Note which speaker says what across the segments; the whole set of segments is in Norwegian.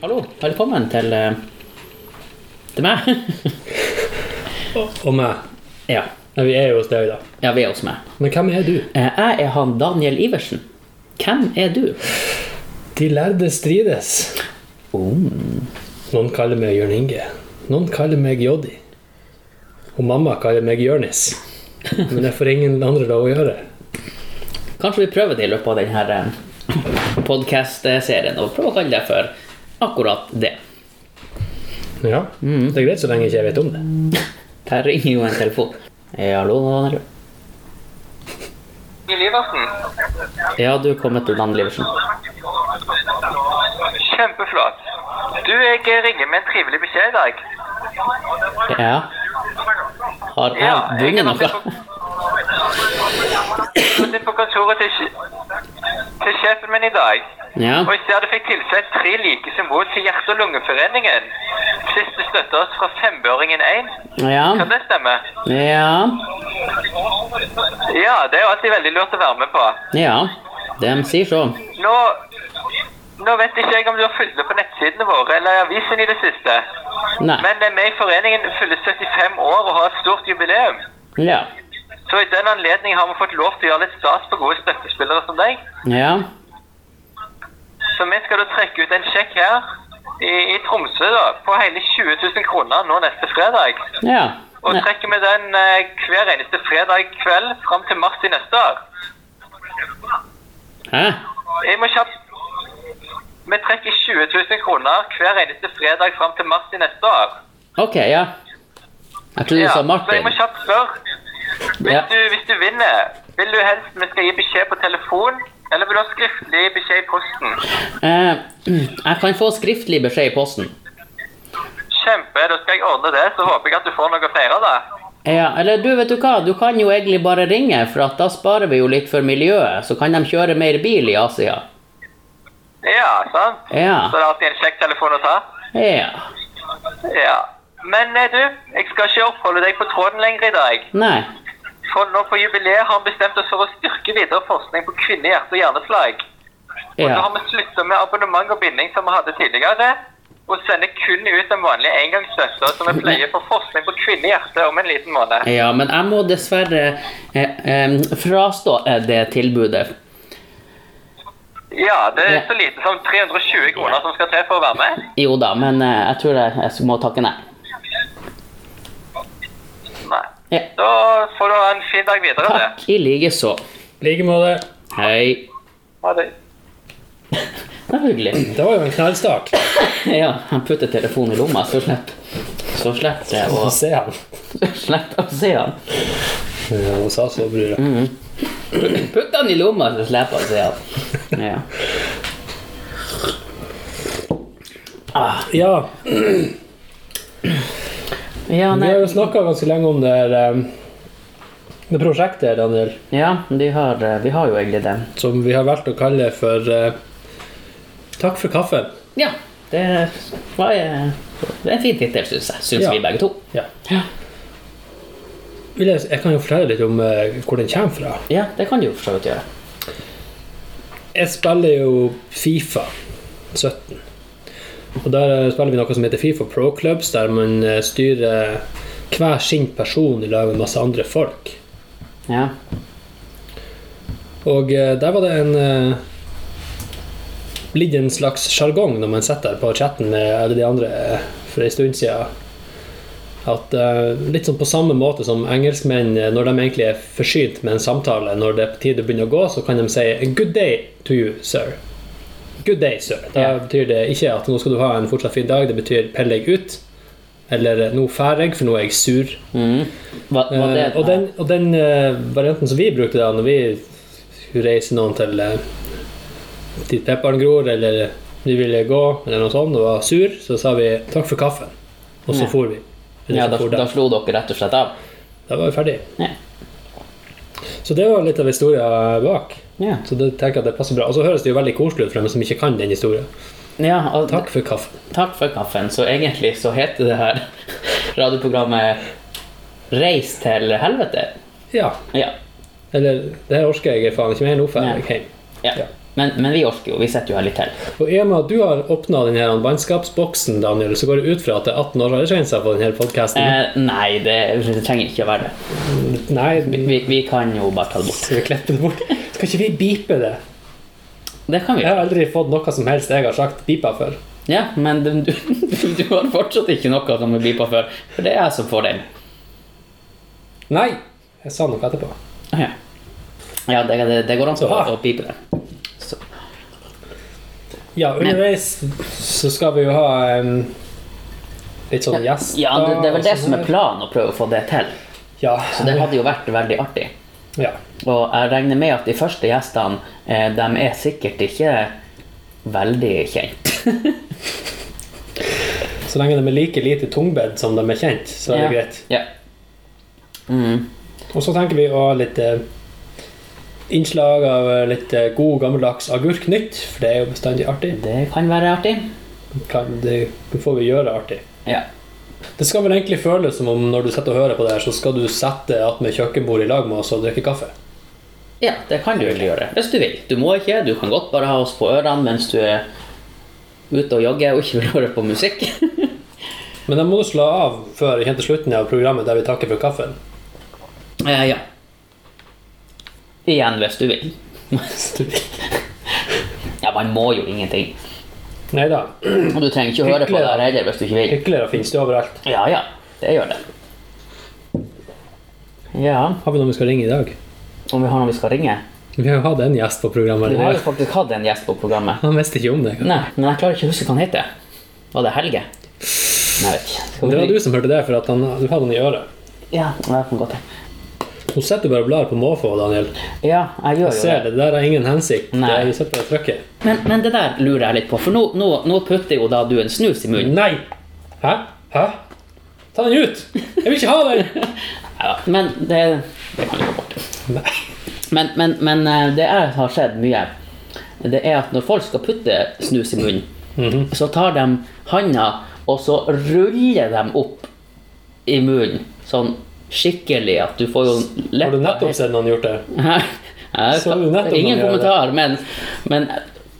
Speaker 1: Hallo, velkommen til eh, til meg.
Speaker 2: Og meg.
Speaker 1: ja.
Speaker 2: Nei, vi er jo hos deg, da.
Speaker 1: ja, vi er hos meg.
Speaker 2: Men hvem er du?
Speaker 1: Eh, Jeg er han Daniel Iversen. Hvem er du?
Speaker 2: De lærde strides.
Speaker 1: Oh.
Speaker 2: Noen kaller meg Jørn Inge. Noen kaller meg Joddi. Og mamma kaller meg Jørnis. Men det får ingen andre lov å gjøre.
Speaker 1: Kanskje vi prøver det i løpet av denne podkast-serien, og prøver å kalle det for akkurat det.
Speaker 2: Ja, Det er greit så lenge ikke jeg vet om det.
Speaker 1: Der ringer jo en telefon. Eh, Hallo, Daniel.
Speaker 3: Daniel Iversen.
Speaker 1: Ja, du er kommet til Daniel Iversen.
Speaker 3: Kjempeflott. Du, jeg ringer med en trivelig beskjed i dag.
Speaker 1: Ja. Har
Speaker 3: Ja,
Speaker 1: jeg
Speaker 3: jeg
Speaker 1: vunnet
Speaker 3: har vært
Speaker 1: noe?
Speaker 3: Jeg satt inn på kontoret til, sj- til sjefen min i dag,
Speaker 1: Ja.
Speaker 3: og i stedet fikk tilsett tre like symboler til Hjerte- og lungeforeningen. Siste støtter oss fra fembøringen 1. Kan
Speaker 1: Ja.
Speaker 3: det stemme?
Speaker 1: Ja.
Speaker 3: Ja, det er jo alltid veldig lurt å være med på.
Speaker 1: ja. De sier så.
Speaker 3: Nå, nå vet ikke jeg om du har fulgt med på nettsidene våre eller i avisen i det siste.
Speaker 1: Nei.
Speaker 3: Men eh, vi i foreningen fyller 75 år og har et stort jubileum.
Speaker 1: Ja.
Speaker 3: Så i den anledning har vi fått lov til å gjøre litt stas på gode støttespillere som deg.
Speaker 1: Ja.
Speaker 3: Så vi skal da trekke ut en sjekk her i, i Tromsø da, på hele 20 000 kroner nå neste fredag.
Speaker 1: Ja.
Speaker 3: Og
Speaker 1: Ne-
Speaker 3: trekker vi den eh, hver eneste fredag kveld fram til mars i neste år.
Speaker 1: Hæ?
Speaker 3: Jeg må kjapt... Vi trekker 20 000 kroner hver eneste fredag fram til mars i neste år.
Speaker 1: Ok, ja. Jeg trodde du sa
Speaker 3: så jeg
Speaker 1: Martin.
Speaker 3: må kjapt spørre. Hvis,
Speaker 1: Ja.
Speaker 3: du, hvis du vinner, vil du helst vi skal gi beskjed på telefon, eller vil du ha skriftlig beskjed i posten?
Speaker 1: Eh, jeg kan få skriftlig beskjed i posten.
Speaker 3: Kjempe, da skal jeg ordne det, så håper jeg at du får noe å feire da.
Speaker 1: Ja, eller du, vet du hva, du kan jo egentlig bare ringe, for at da sparer vi jo litt for miljøet. Så kan de kjøre mer bil i Asia.
Speaker 3: Ja, sant? Så
Speaker 1: Ja.
Speaker 3: det er alltid en kjekk telefon å ta.
Speaker 1: Ja.
Speaker 3: Ja. Men eh, du, jeg skal ikke oppholde deg på tråden lenger i dag.
Speaker 1: Nei.
Speaker 3: For nå på jubileet har vi bestemt oss for å styrke videre forskning på kvinne, hjerte og hjerneslag. Og så
Speaker 1: Ja.
Speaker 3: har vi slutta med abonnement og binding som vi hadde tidligere. Og sender kun ut den vanlige engangsstøtta som vi pleier for forskning på kvinnehjerte om en liten måned.
Speaker 1: ja, men jeg må dessverre eh, eh, frastå eh, det tilbudet.
Speaker 3: Ja, det er så lite som 320 kroner som skal til for å være med.
Speaker 1: Jo da, men eh, jeg tror jeg, jeg må takke nei.
Speaker 3: Nei.
Speaker 1: Ja.
Speaker 3: Da får du ha en fin dag videre. du.
Speaker 1: Takk i like så.
Speaker 2: like måte.
Speaker 1: Hei.
Speaker 3: Ha det.
Speaker 1: Det var hyggelig.
Speaker 2: Det var jo en knallstart.
Speaker 1: Ja, han putter telefonen i lomma, så slipper Så slipper jeg
Speaker 2: Få
Speaker 1: å,
Speaker 2: se han.
Speaker 1: slipper jeg å se han.
Speaker 2: Ja, hun sa så, bror.
Speaker 1: Putt han i lomma, så slipper jeg å se han. Ja.
Speaker 2: Ja,
Speaker 1: Ja,
Speaker 2: vi
Speaker 1: nei.
Speaker 2: har jo snakka ganske lenge om det her um, det prosjektet, Daniel,
Speaker 1: ja de har, eh, vi har jo egentlig det.
Speaker 2: som vi har valgt å kalle for eh, Takk for kaffen.
Speaker 1: Ja, det var eh, det er en fin tittel, syns jeg. Syns
Speaker 2: Ja.
Speaker 1: vi begge to.
Speaker 2: Ja.
Speaker 1: Ja.
Speaker 2: Vil jeg, jeg kan jo fortelle litt om eh, hvor den kommer fra.
Speaker 1: ja, det kan du jo for så vidt gjøre.
Speaker 2: Jeg spiller jo Fifa 17. Og der eh, spiller vi noe som heter Fifa Pro Clubs, der man eh, styrer hver sin person i lag med masse andre folk.
Speaker 1: Ja.
Speaker 2: Og eh, der var det en eh, litt en slags sjargong når man sitter på chatten med alle de andre eh, for en stund siden. At eh, litt sånn på samme måte som engelskmenn, eh, når de egentlig er forsynt med en samtale, når det er på tide å begynne å gå, så kan de si 'good day to you, sir'. Good day, sir. Da
Speaker 1: Ja.
Speaker 2: betyr det ikke at 'nå skal du ha en fortsatt fin dag', det betyr 'pell deg ut'. Eller 'nå fær jeg, for nå er jeg sur'.
Speaker 1: Mm. Hva, var det,
Speaker 2: Eh, og den, og den eh, varianten som vi brukte da når vi reiser noen til eh, dit pepperen gror, eller de ville gå, eller noe sånt, og var sur, så sa vi 'takk for kaffen', og så
Speaker 1: Ja.
Speaker 2: for vi. Eller
Speaker 1: ja,
Speaker 2: så
Speaker 1: da,
Speaker 2: for de.
Speaker 1: da slo dere rett og slett av?
Speaker 2: Da var vi ferdig.
Speaker 1: Ja.
Speaker 2: Så det var litt av historien bak.
Speaker 1: Ja.
Speaker 2: Så det tenker jeg at det passer bra. Og så høres det jo veldig koselig ut for dem som ikke kan den historien.
Speaker 1: ja og,
Speaker 2: Takk for kaffen.
Speaker 1: Takk for kaffen. Så egentlig så heter det her radioprogrammet Reis til helvete.
Speaker 2: Ja.
Speaker 1: Ja.
Speaker 2: Eller det her orker jeg faen ikke mer, nå drar
Speaker 1: Nei.
Speaker 2: jeg hjem.
Speaker 1: ja.
Speaker 2: Ja.
Speaker 1: Men, men vi orker jo. Vi sitter jo her litt til.
Speaker 2: Og i og med at du har åpna denne vennskapsboksen, Daniel, så går jeg ut fra at det er 18 år aldersgrense på denne podkasten.
Speaker 1: Eh, nei, det, det trenger ikke å være det.
Speaker 2: Nei,
Speaker 1: Eh, Vi,
Speaker 2: vi
Speaker 1: vi, vi kan jo bare ta det bort.
Speaker 2: skal vi klippe det bort? Skal ikke vi beepe det?
Speaker 1: Det kan vi
Speaker 2: Jeg
Speaker 1: gjøre.
Speaker 2: har aldri fått noe som helst jeg har sagt beepa før.
Speaker 1: Ja, men du, du, du har fortsatt ikke noe som er beepa før. For det er altså jeg som får den.
Speaker 2: Nei! Jeg sa noe etterpå.
Speaker 1: Ah, Ja, ja det, det, det går an å,
Speaker 2: Ah.
Speaker 1: å beepe det. Så.
Speaker 2: Ja, underveis så skal vi jo ha em, litt sånn gjester.
Speaker 1: Ja, det, det er
Speaker 2: og
Speaker 1: vel det
Speaker 2: sånn
Speaker 1: som er
Speaker 2: her.
Speaker 1: planen, å prøve å få det til.
Speaker 2: Ja.
Speaker 1: Så det hadde jo vært veldig artig.
Speaker 2: ja.
Speaker 1: Og jeg regner med at de første gjestene, eh, de er sikkert ikke veldig kjent.
Speaker 2: Så lenge de er like lite tungbedd som de er kjent, så er det
Speaker 1: Ja.
Speaker 2: greit.
Speaker 1: Ja. Mm.
Speaker 2: Og så tenker vi å ha litt eh, innslag av eh, litt eh, god, gammeldags agurknytt, for det er jo bestandig artig.
Speaker 1: Det kan være artig.
Speaker 2: Kan, det får vi gjøre artig.
Speaker 1: Ja.
Speaker 2: Det skal vel egentlig føles som om når du sitter og hører på det her, så skal du sette deg attmed kjøkkenbordet i lag med oss og drikke kaffe.
Speaker 1: ja, det kan du egentlig gjøre hvis du vil. Du må ikke. Du kan godt bare ha oss på ørene mens du er ute og jogger og ikke vil høre på musikk.
Speaker 2: Men da må du slå av før helt til slutten av programmet der vi takker for kaffen.
Speaker 1: eh, ja. Igjen hvis du vil. Ja, man må jo ingenting.
Speaker 2: Nei da.
Speaker 1: Og du trenger ikke å høre på det her heller hvis du ikke vil.
Speaker 2: Hyklere finnes det overalt.
Speaker 1: Ja, ja. Det gjør det. Ja,
Speaker 2: Har vi noen vi skal ringe i dag?
Speaker 1: om vi har noen vi skal ringe?
Speaker 2: Vi har jo hatt en gjest på programmet.
Speaker 1: Vi har jo
Speaker 2: eller?
Speaker 1: faktisk hatt en gjest på programmet.
Speaker 2: Han visste ikke om det.
Speaker 1: Nei, men jeg klarer ikke å huske hva han heter. Var det Helge? Nei, jeg vet ikke. Skal
Speaker 2: Det
Speaker 1: vi
Speaker 2: var du som hørte det, for at han, du hadde han i øret.
Speaker 1: Ja, det kan godt hende.
Speaker 2: Nå sitter du bare og blar på måfå, Daniel.
Speaker 1: Ja, jeg gjør
Speaker 2: Jeg
Speaker 1: jo
Speaker 2: ser
Speaker 1: det.
Speaker 2: det. Det der er ingen hensikt.
Speaker 1: Nei.
Speaker 2: Det er, vi sitter bare og trykker.
Speaker 1: Men, men det der lurer jeg litt på, for nå, nå, nå putter jo da du en snus i munnen.
Speaker 2: Nei! Hæ? Hæ? Ta den ut! Jeg vil ikke ha den!
Speaker 1: Ja, men det, det kan vi gå bort.
Speaker 2: Nei.
Speaker 1: Men, men, men eh, det er, har skjedd mye. Det er at når folk skal putte snus i munnen,
Speaker 2: Mhm.
Speaker 1: så tar de handa og så ruller de opp i munnen. Sånn skikkelig at du får jo
Speaker 2: Har du nettopp sett noen gjort det?
Speaker 1: Nei, jeg-
Speaker 2: Så du nettopp
Speaker 1: Ingen
Speaker 2: når de gjør
Speaker 1: kommentar, men, men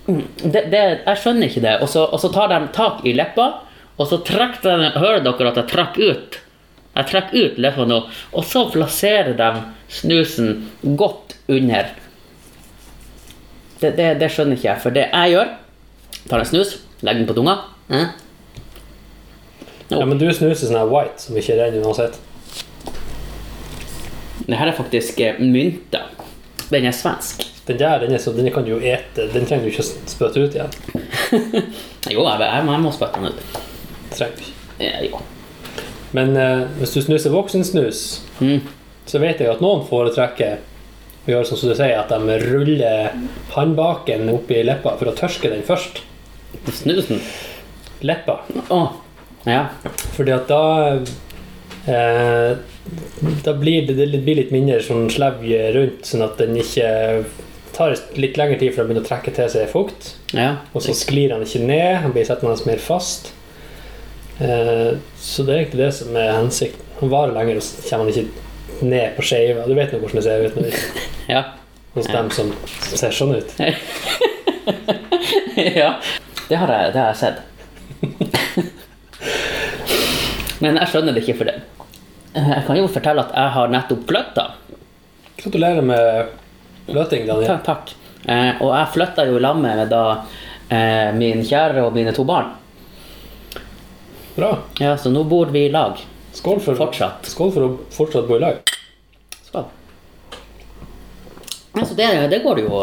Speaker 1: mm, det, det, jeg skjønner ikke det. Og så, og så tar de tak i leppa, og så trekker de Hører dere at jeg trakk ut? Jeg trakk ut leppa nå, og så plasserer de snusen godt under. Det, det, det skjønner ikke jeg, for det jeg gjør Tar en snus, legger den på tunga. eh,
Speaker 2: Ja, men du snuser sånn her white, som ikke renner uansett.
Speaker 1: Det her er faktisk eh, mynta. Den er svensk.
Speaker 2: Den der, den, er så, den kan du jo ete. Den trenger du ikke å spytte ut igjen.
Speaker 1: Jo, jeg, jeg, jeg må spytte den ut.
Speaker 2: Trenger du ikke.
Speaker 1: Eh, Jo.
Speaker 2: Men eh, hvis du snuser voksensnus,
Speaker 1: Mm.
Speaker 2: så vet jeg at noen foretrekker å gjøre sånn som du sier, at de ruller håndbaken opp i leppa for å tørke den først.
Speaker 1: Snusen?
Speaker 2: Leppa.
Speaker 1: Å, ja.
Speaker 2: Fordi at da eh, Da blir det, det blir litt mindre sånn slevje rundt, sånn at den ikke tar litt lengre tid for den begynner å trekke til seg fukt.
Speaker 1: ja.
Speaker 2: Og så sklir han ikke ned, han blir settende mer fast. Eh, så det er egentlig det som er hensikten. Han varer lenger, og så kommer han ikke ned på skeiva. Du vet nå hvordan det ser ut når det-
Speaker 1: Ja.
Speaker 2: hos dem som ser sånn ut.
Speaker 1: ja. Det har jeg, det har jeg sett. Men jeg skjønner det ikke for det. Jeg kan jo fortelle at jeg har nettopp flytta.
Speaker 2: Gratulerer med løting, Daniel.
Speaker 1: Takk. takk. Eh, og jeg flytta jo i lag med da eh, min kjære og mine to barn.
Speaker 2: Bra.
Speaker 1: Ja, Så nå bor vi i lag.
Speaker 2: Skål for,
Speaker 1: Fortsatt.
Speaker 2: Skål for å fortsatt bo i lag.
Speaker 1: Skål. Altså, det, det går jo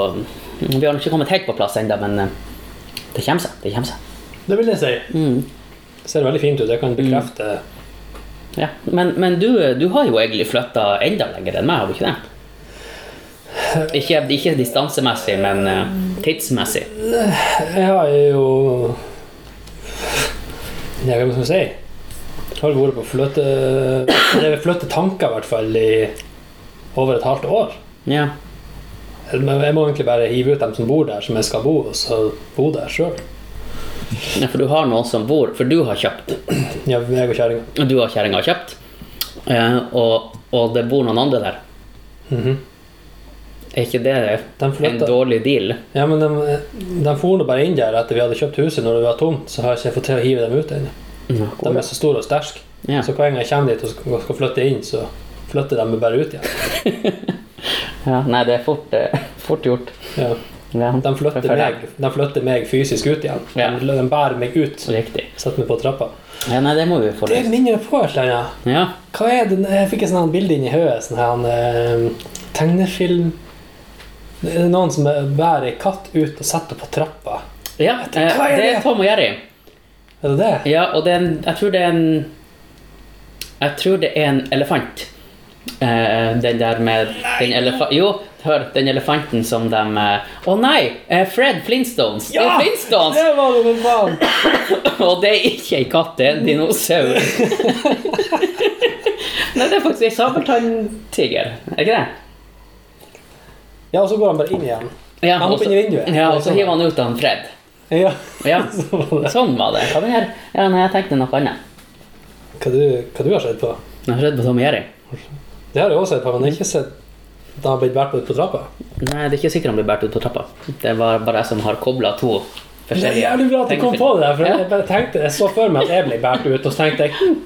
Speaker 1: Vi har ikke kommet helt på plass ennå, men eh, det kommer seg. Det kommer seg.
Speaker 2: Det vil jeg si.
Speaker 1: Mm.
Speaker 2: Det ser veldig fint ut. Jeg kan bekrefte
Speaker 1: Ja, men, men du, du har jo egentlig flytta enda lenger enn meg, har du ikke det? Ikke, ikke distansemessig, men eh, tidsmessig.
Speaker 2: Jeg har jo Ja, hva skal jeg si? Jeg har vært på fløte... Det er fløtetanker, i hvert fall, i over et halvt år.
Speaker 1: Ja.
Speaker 2: Men jeg må egentlig bare hive ut dem som bor der, som jeg skal bo, og så bo der sjøl.
Speaker 1: ja, for du har noen som bor For du har kjøpt.
Speaker 2: Ja, meg og kjerringa.
Speaker 1: og Du og kjerringa har kjøpt, eh, og, og det bor noen andre der. Er ikke det
Speaker 2: Mhm. De
Speaker 1: en
Speaker 2: flytta-
Speaker 1: dårlig deal?
Speaker 2: Ja, men de, de for nå bare inn der etter vi hadde kjøpt huset når det var tomt, så har jeg ikke fått til å hive dem ut ennå. De er så store og sterke.
Speaker 1: Ja.
Speaker 2: Så hver gang jeg kommer dit og skal, skal flytte inn, så flytter de bare ut igjen.
Speaker 1: Ja, nei, det er fort, eh, fort gjort.
Speaker 2: Ja.
Speaker 1: Ja,
Speaker 2: De, flytter
Speaker 1: for deg.
Speaker 2: meg, de flytter meg fysisk ut igjen.
Speaker 1: Ja.
Speaker 2: De, de bærer meg ut.
Speaker 1: Riktig.
Speaker 2: Setter meg på trappa.
Speaker 1: Ja, nei, det må vi få
Speaker 2: Det
Speaker 1: løst.
Speaker 2: minner meg på et eller annet.
Speaker 1: Ja.
Speaker 2: Hva er det? Jeg fikk et sånt her bilde inn i hodet. Sånn her, en, eh, tegnefilm Det er noen som bærer ei katt ut og setter på trappa.
Speaker 1: ja eh,
Speaker 2: Hva er
Speaker 1: det
Speaker 2: det?
Speaker 1: er Tom og Jerry.
Speaker 2: Er det det?
Speaker 1: Ja, og det er en, jeg tror det er en Jeg tror det er en elefant. Eh, den der med den elefa Jo, hør, den elefanten som de Å nei! Eh, Fred Flintstones! Det altså. er Flintstones!
Speaker 2: Det var det vel faen!
Speaker 1: Og det er ikke ei katt, det er en dinosaur. Nei, det er faktisk ei sabeltanntiger. Er ikke det?
Speaker 2: Ja, og så går han bare inn igjen.
Speaker 1: Ja,
Speaker 2: Han
Speaker 1: og så-
Speaker 2: hopper inn i vinduet. Sånn.
Speaker 1: Ja, og så hiver han ut han Fred.
Speaker 2: Ja.
Speaker 1: Ja,
Speaker 2: Så var det.
Speaker 1: sånn var det. Hva var det her? Ja, nei, jeg tenkte noe annet.
Speaker 2: Hva, du, hva du har sett på?
Speaker 1: Jeg har sett på Tom og Jerry.
Speaker 2: Det har jeg også sett på, men jeg har ikke sett da han ble båret ut på trappa.
Speaker 1: Nei, det er ikke sikkert han blir båret ut på trappa. Det var bare jeg som har kobla to
Speaker 2: Det er
Speaker 1: forskjellige
Speaker 2: jævlig bra at du kom på det der, for
Speaker 1: Ja.
Speaker 2: jeg bare tenkte, jeg så for meg at jeg ble båret ut, og så tenkte jeg hm,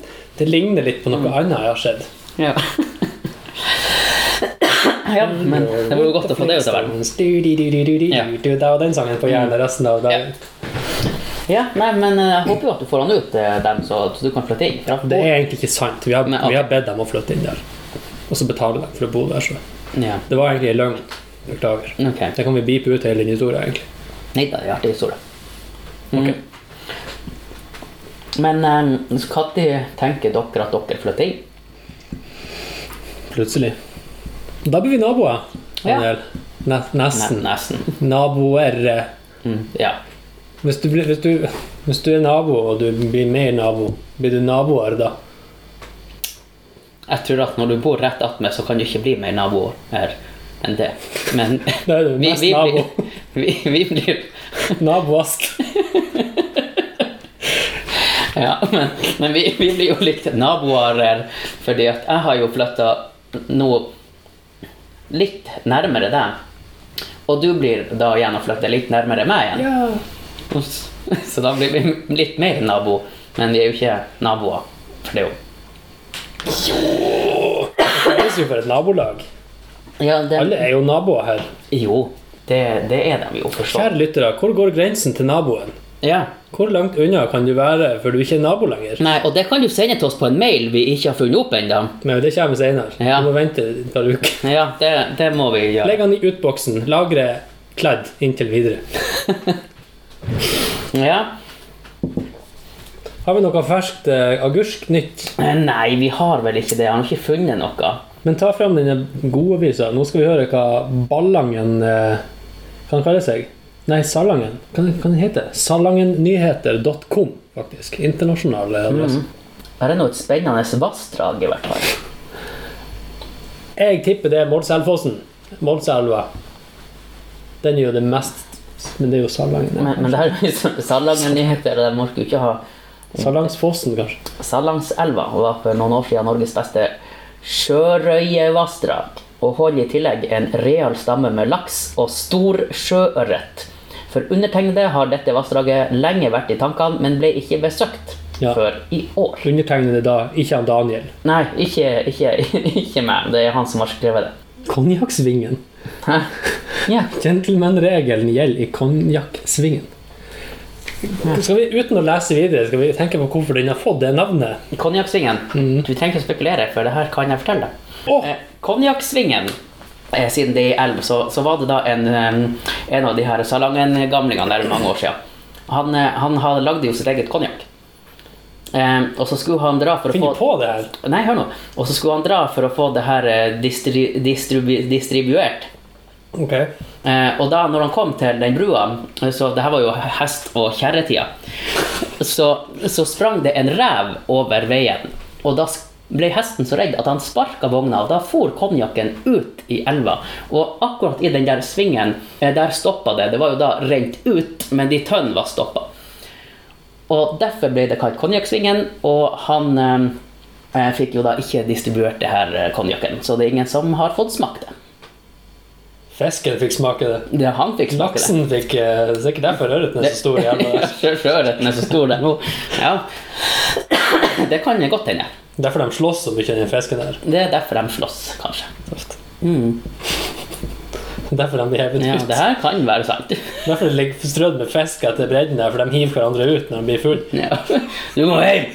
Speaker 2: det ligner litt på
Speaker 1: Mm.
Speaker 2: noe annet jeg har sett.
Speaker 1: Ja. ja, men det var jo godt å få det ut av verden. Ja. Mm.
Speaker 2: Det var den sangen på hjernen resten av dagen.
Speaker 1: Ja, nei, men eh, jeg håper jo at du får han ut, eh, dem, så så du kan flytte inn. for at-
Speaker 2: Det er egentlig ikke sant. Vi har,
Speaker 1: Nei, ok.
Speaker 2: vi har bedt dem å flytte inn der, og så betaler de for å bo der. Så.
Speaker 1: Ja,
Speaker 2: Det var egentlig en løgn. Beklager.
Speaker 1: ok.
Speaker 2: Det kan vi bipe ut hele den historien, egentlig.
Speaker 1: Nei da, det er en artig historie. Mm. Men um, så når tenker dere at dere flytter inn?
Speaker 2: Plutselig. Da blir vi naboer.
Speaker 1: Ja.
Speaker 2: Daniel. Ne
Speaker 1: Ne
Speaker 2: nesten.
Speaker 1: nesten.
Speaker 2: Naboer.
Speaker 1: Mm, ja.
Speaker 2: Hvis du, blir, hvis, du, hvis du er nabo, og du blir mer nabo, blir du naboer da?
Speaker 1: Jeg tror at når du bor rett attmed, så kan du ikke bli mer naboer her enn det. Men
Speaker 2: Da er du
Speaker 1: vi,
Speaker 2: mest
Speaker 1: vi,
Speaker 2: nabo.
Speaker 1: blir, vi, vi blir
Speaker 2: Naboask.
Speaker 1: Ja, men, men vi, vi blir jo litt naboer her, fordi at jeg har jo flytta nå litt nærmere deg. Og du blir da igjen å flytte litt nærmere meg igjen.
Speaker 2: Ja.
Speaker 1: Ops. Så da blir vi litt mer nabo, men vi er jo ikke naboer. For det er jo
Speaker 2: Det er jo for et nabolag.
Speaker 1: ja,
Speaker 2: Alle
Speaker 1: det,
Speaker 2: er jo naboer her.
Speaker 1: Jo, det, det er de jo, forstå.
Speaker 2: Kjære lyttere, hvor går grensen til naboen?
Speaker 1: Ja.
Speaker 2: Hvor langt unna kan du være før du ikke er nabo lenger?
Speaker 1: Nei, og det kan du sende til oss på en mail vi ikke har funnet opp ennå.
Speaker 2: Men det kommer senere.
Speaker 1: Ja.
Speaker 2: Du må vente et par uker.
Speaker 1: Ja, det, det må vi gjøre.
Speaker 2: Legg han i utboksen. Lagre kledd inntil videre.
Speaker 1: Ja.
Speaker 2: Har vi noe ferskt eh, agurk nytt?
Speaker 1: Eh, Nei, vi har vel ikke det. Jeg har ikke funnet noe.
Speaker 2: Men ta fram denne gode visa. Nå skal vi høre hva Ballangen eh, kan kalle seg. Nei, Salangen. Hva kan- kan den hete? Salangennyheter.com, faktisk. Internasjonal eh, adresse.
Speaker 1: Mm. Her er nå et spennende vassdrag, i hvert fall.
Speaker 2: Jeg tipper det er Målselvfossen. Målselva. Den er jo det mest Men det er jo Salangen. ja.
Speaker 1: Men, men det her er jo Salangen-nyheter, og de orker jo ikke ha
Speaker 2: Salangsfossen, kanskje.
Speaker 1: Salangselva var for noen år siden Norges beste sjørøyevassdrag, og holder i tillegg en real stamme med laks og stor sjøørret. For undertegnede har dette vassdraget lenge vært i tankene, men ble ikke besøkt
Speaker 2: Ja.
Speaker 1: før i år.
Speaker 2: Undertegnede da, ikke han Daniel.
Speaker 1: Nei, ikke, ikke, ikke meg. Det er han som har skrevet det.
Speaker 2: Konjakksvingen.
Speaker 1: Hæ? Ja.
Speaker 2: Gentleman-regelen gjelder i konjakksvingen. Skal vi uten å lese videre, skal vi tenke på hvorfor den har fått det navnet?
Speaker 1: Konjakksvingen. Du trenger ikke å spekulere, for det her kan jeg fortelle.
Speaker 2: Åh!
Speaker 1: Eh, Konjakksvingen, eh, siden det er i elv, så, så var det da en, eh, en av de her Salangen-gamlingene der mange år siden. Han, eh, han hadde lagd jo sitt eget konjakk. Eh, og så skulle han dra for å få
Speaker 2: Finner du på det her?
Speaker 1: Nei, hør nå. Og så skulle han dra for å få det her eh, distri, distribu, distribuert.
Speaker 2: Ok.
Speaker 1: Eh, og da når han kom til den brua, eh, så det her var jo hest- og kjerretida, så, så sprang det en rev over veien. Og da sk- ble hesten så redd at han sparka vogna, og da for konjakken ut i elva. Og akkurat i den der svingen, eh, der stoppa det. Det var jo da rent ut, men de tønn var stoppa. Og derfor ble det kalt konjakksvingen, og han eh, eh, fikk jo da ikke distribuert det her eh, konjakken. Så det er ingen som har fått smakt det.
Speaker 2: Fisken fikk smake det.
Speaker 1: Det han fikk smake det.
Speaker 2: Laksen fikk eh, Det er sikkert derfor ørreten er så stor.
Speaker 1: ja,
Speaker 2: Jævla.
Speaker 1: sjø- sjøørreten er så stor der nå. Ja. Det kan jeg godt hende.
Speaker 2: Derfor de slåss så mye, den fisken der.
Speaker 1: Det er derfor de slåss, kanskje. Mm.
Speaker 2: Derfor de blir hevet
Speaker 1: Ja,
Speaker 2: ut.
Speaker 1: det her kan være sant.
Speaker 2: Derfor det ligger strødd med fisk etter bredden der, for de hiver hverandre ut når de blir full.
Speaker 1: Ja. Du må hjem!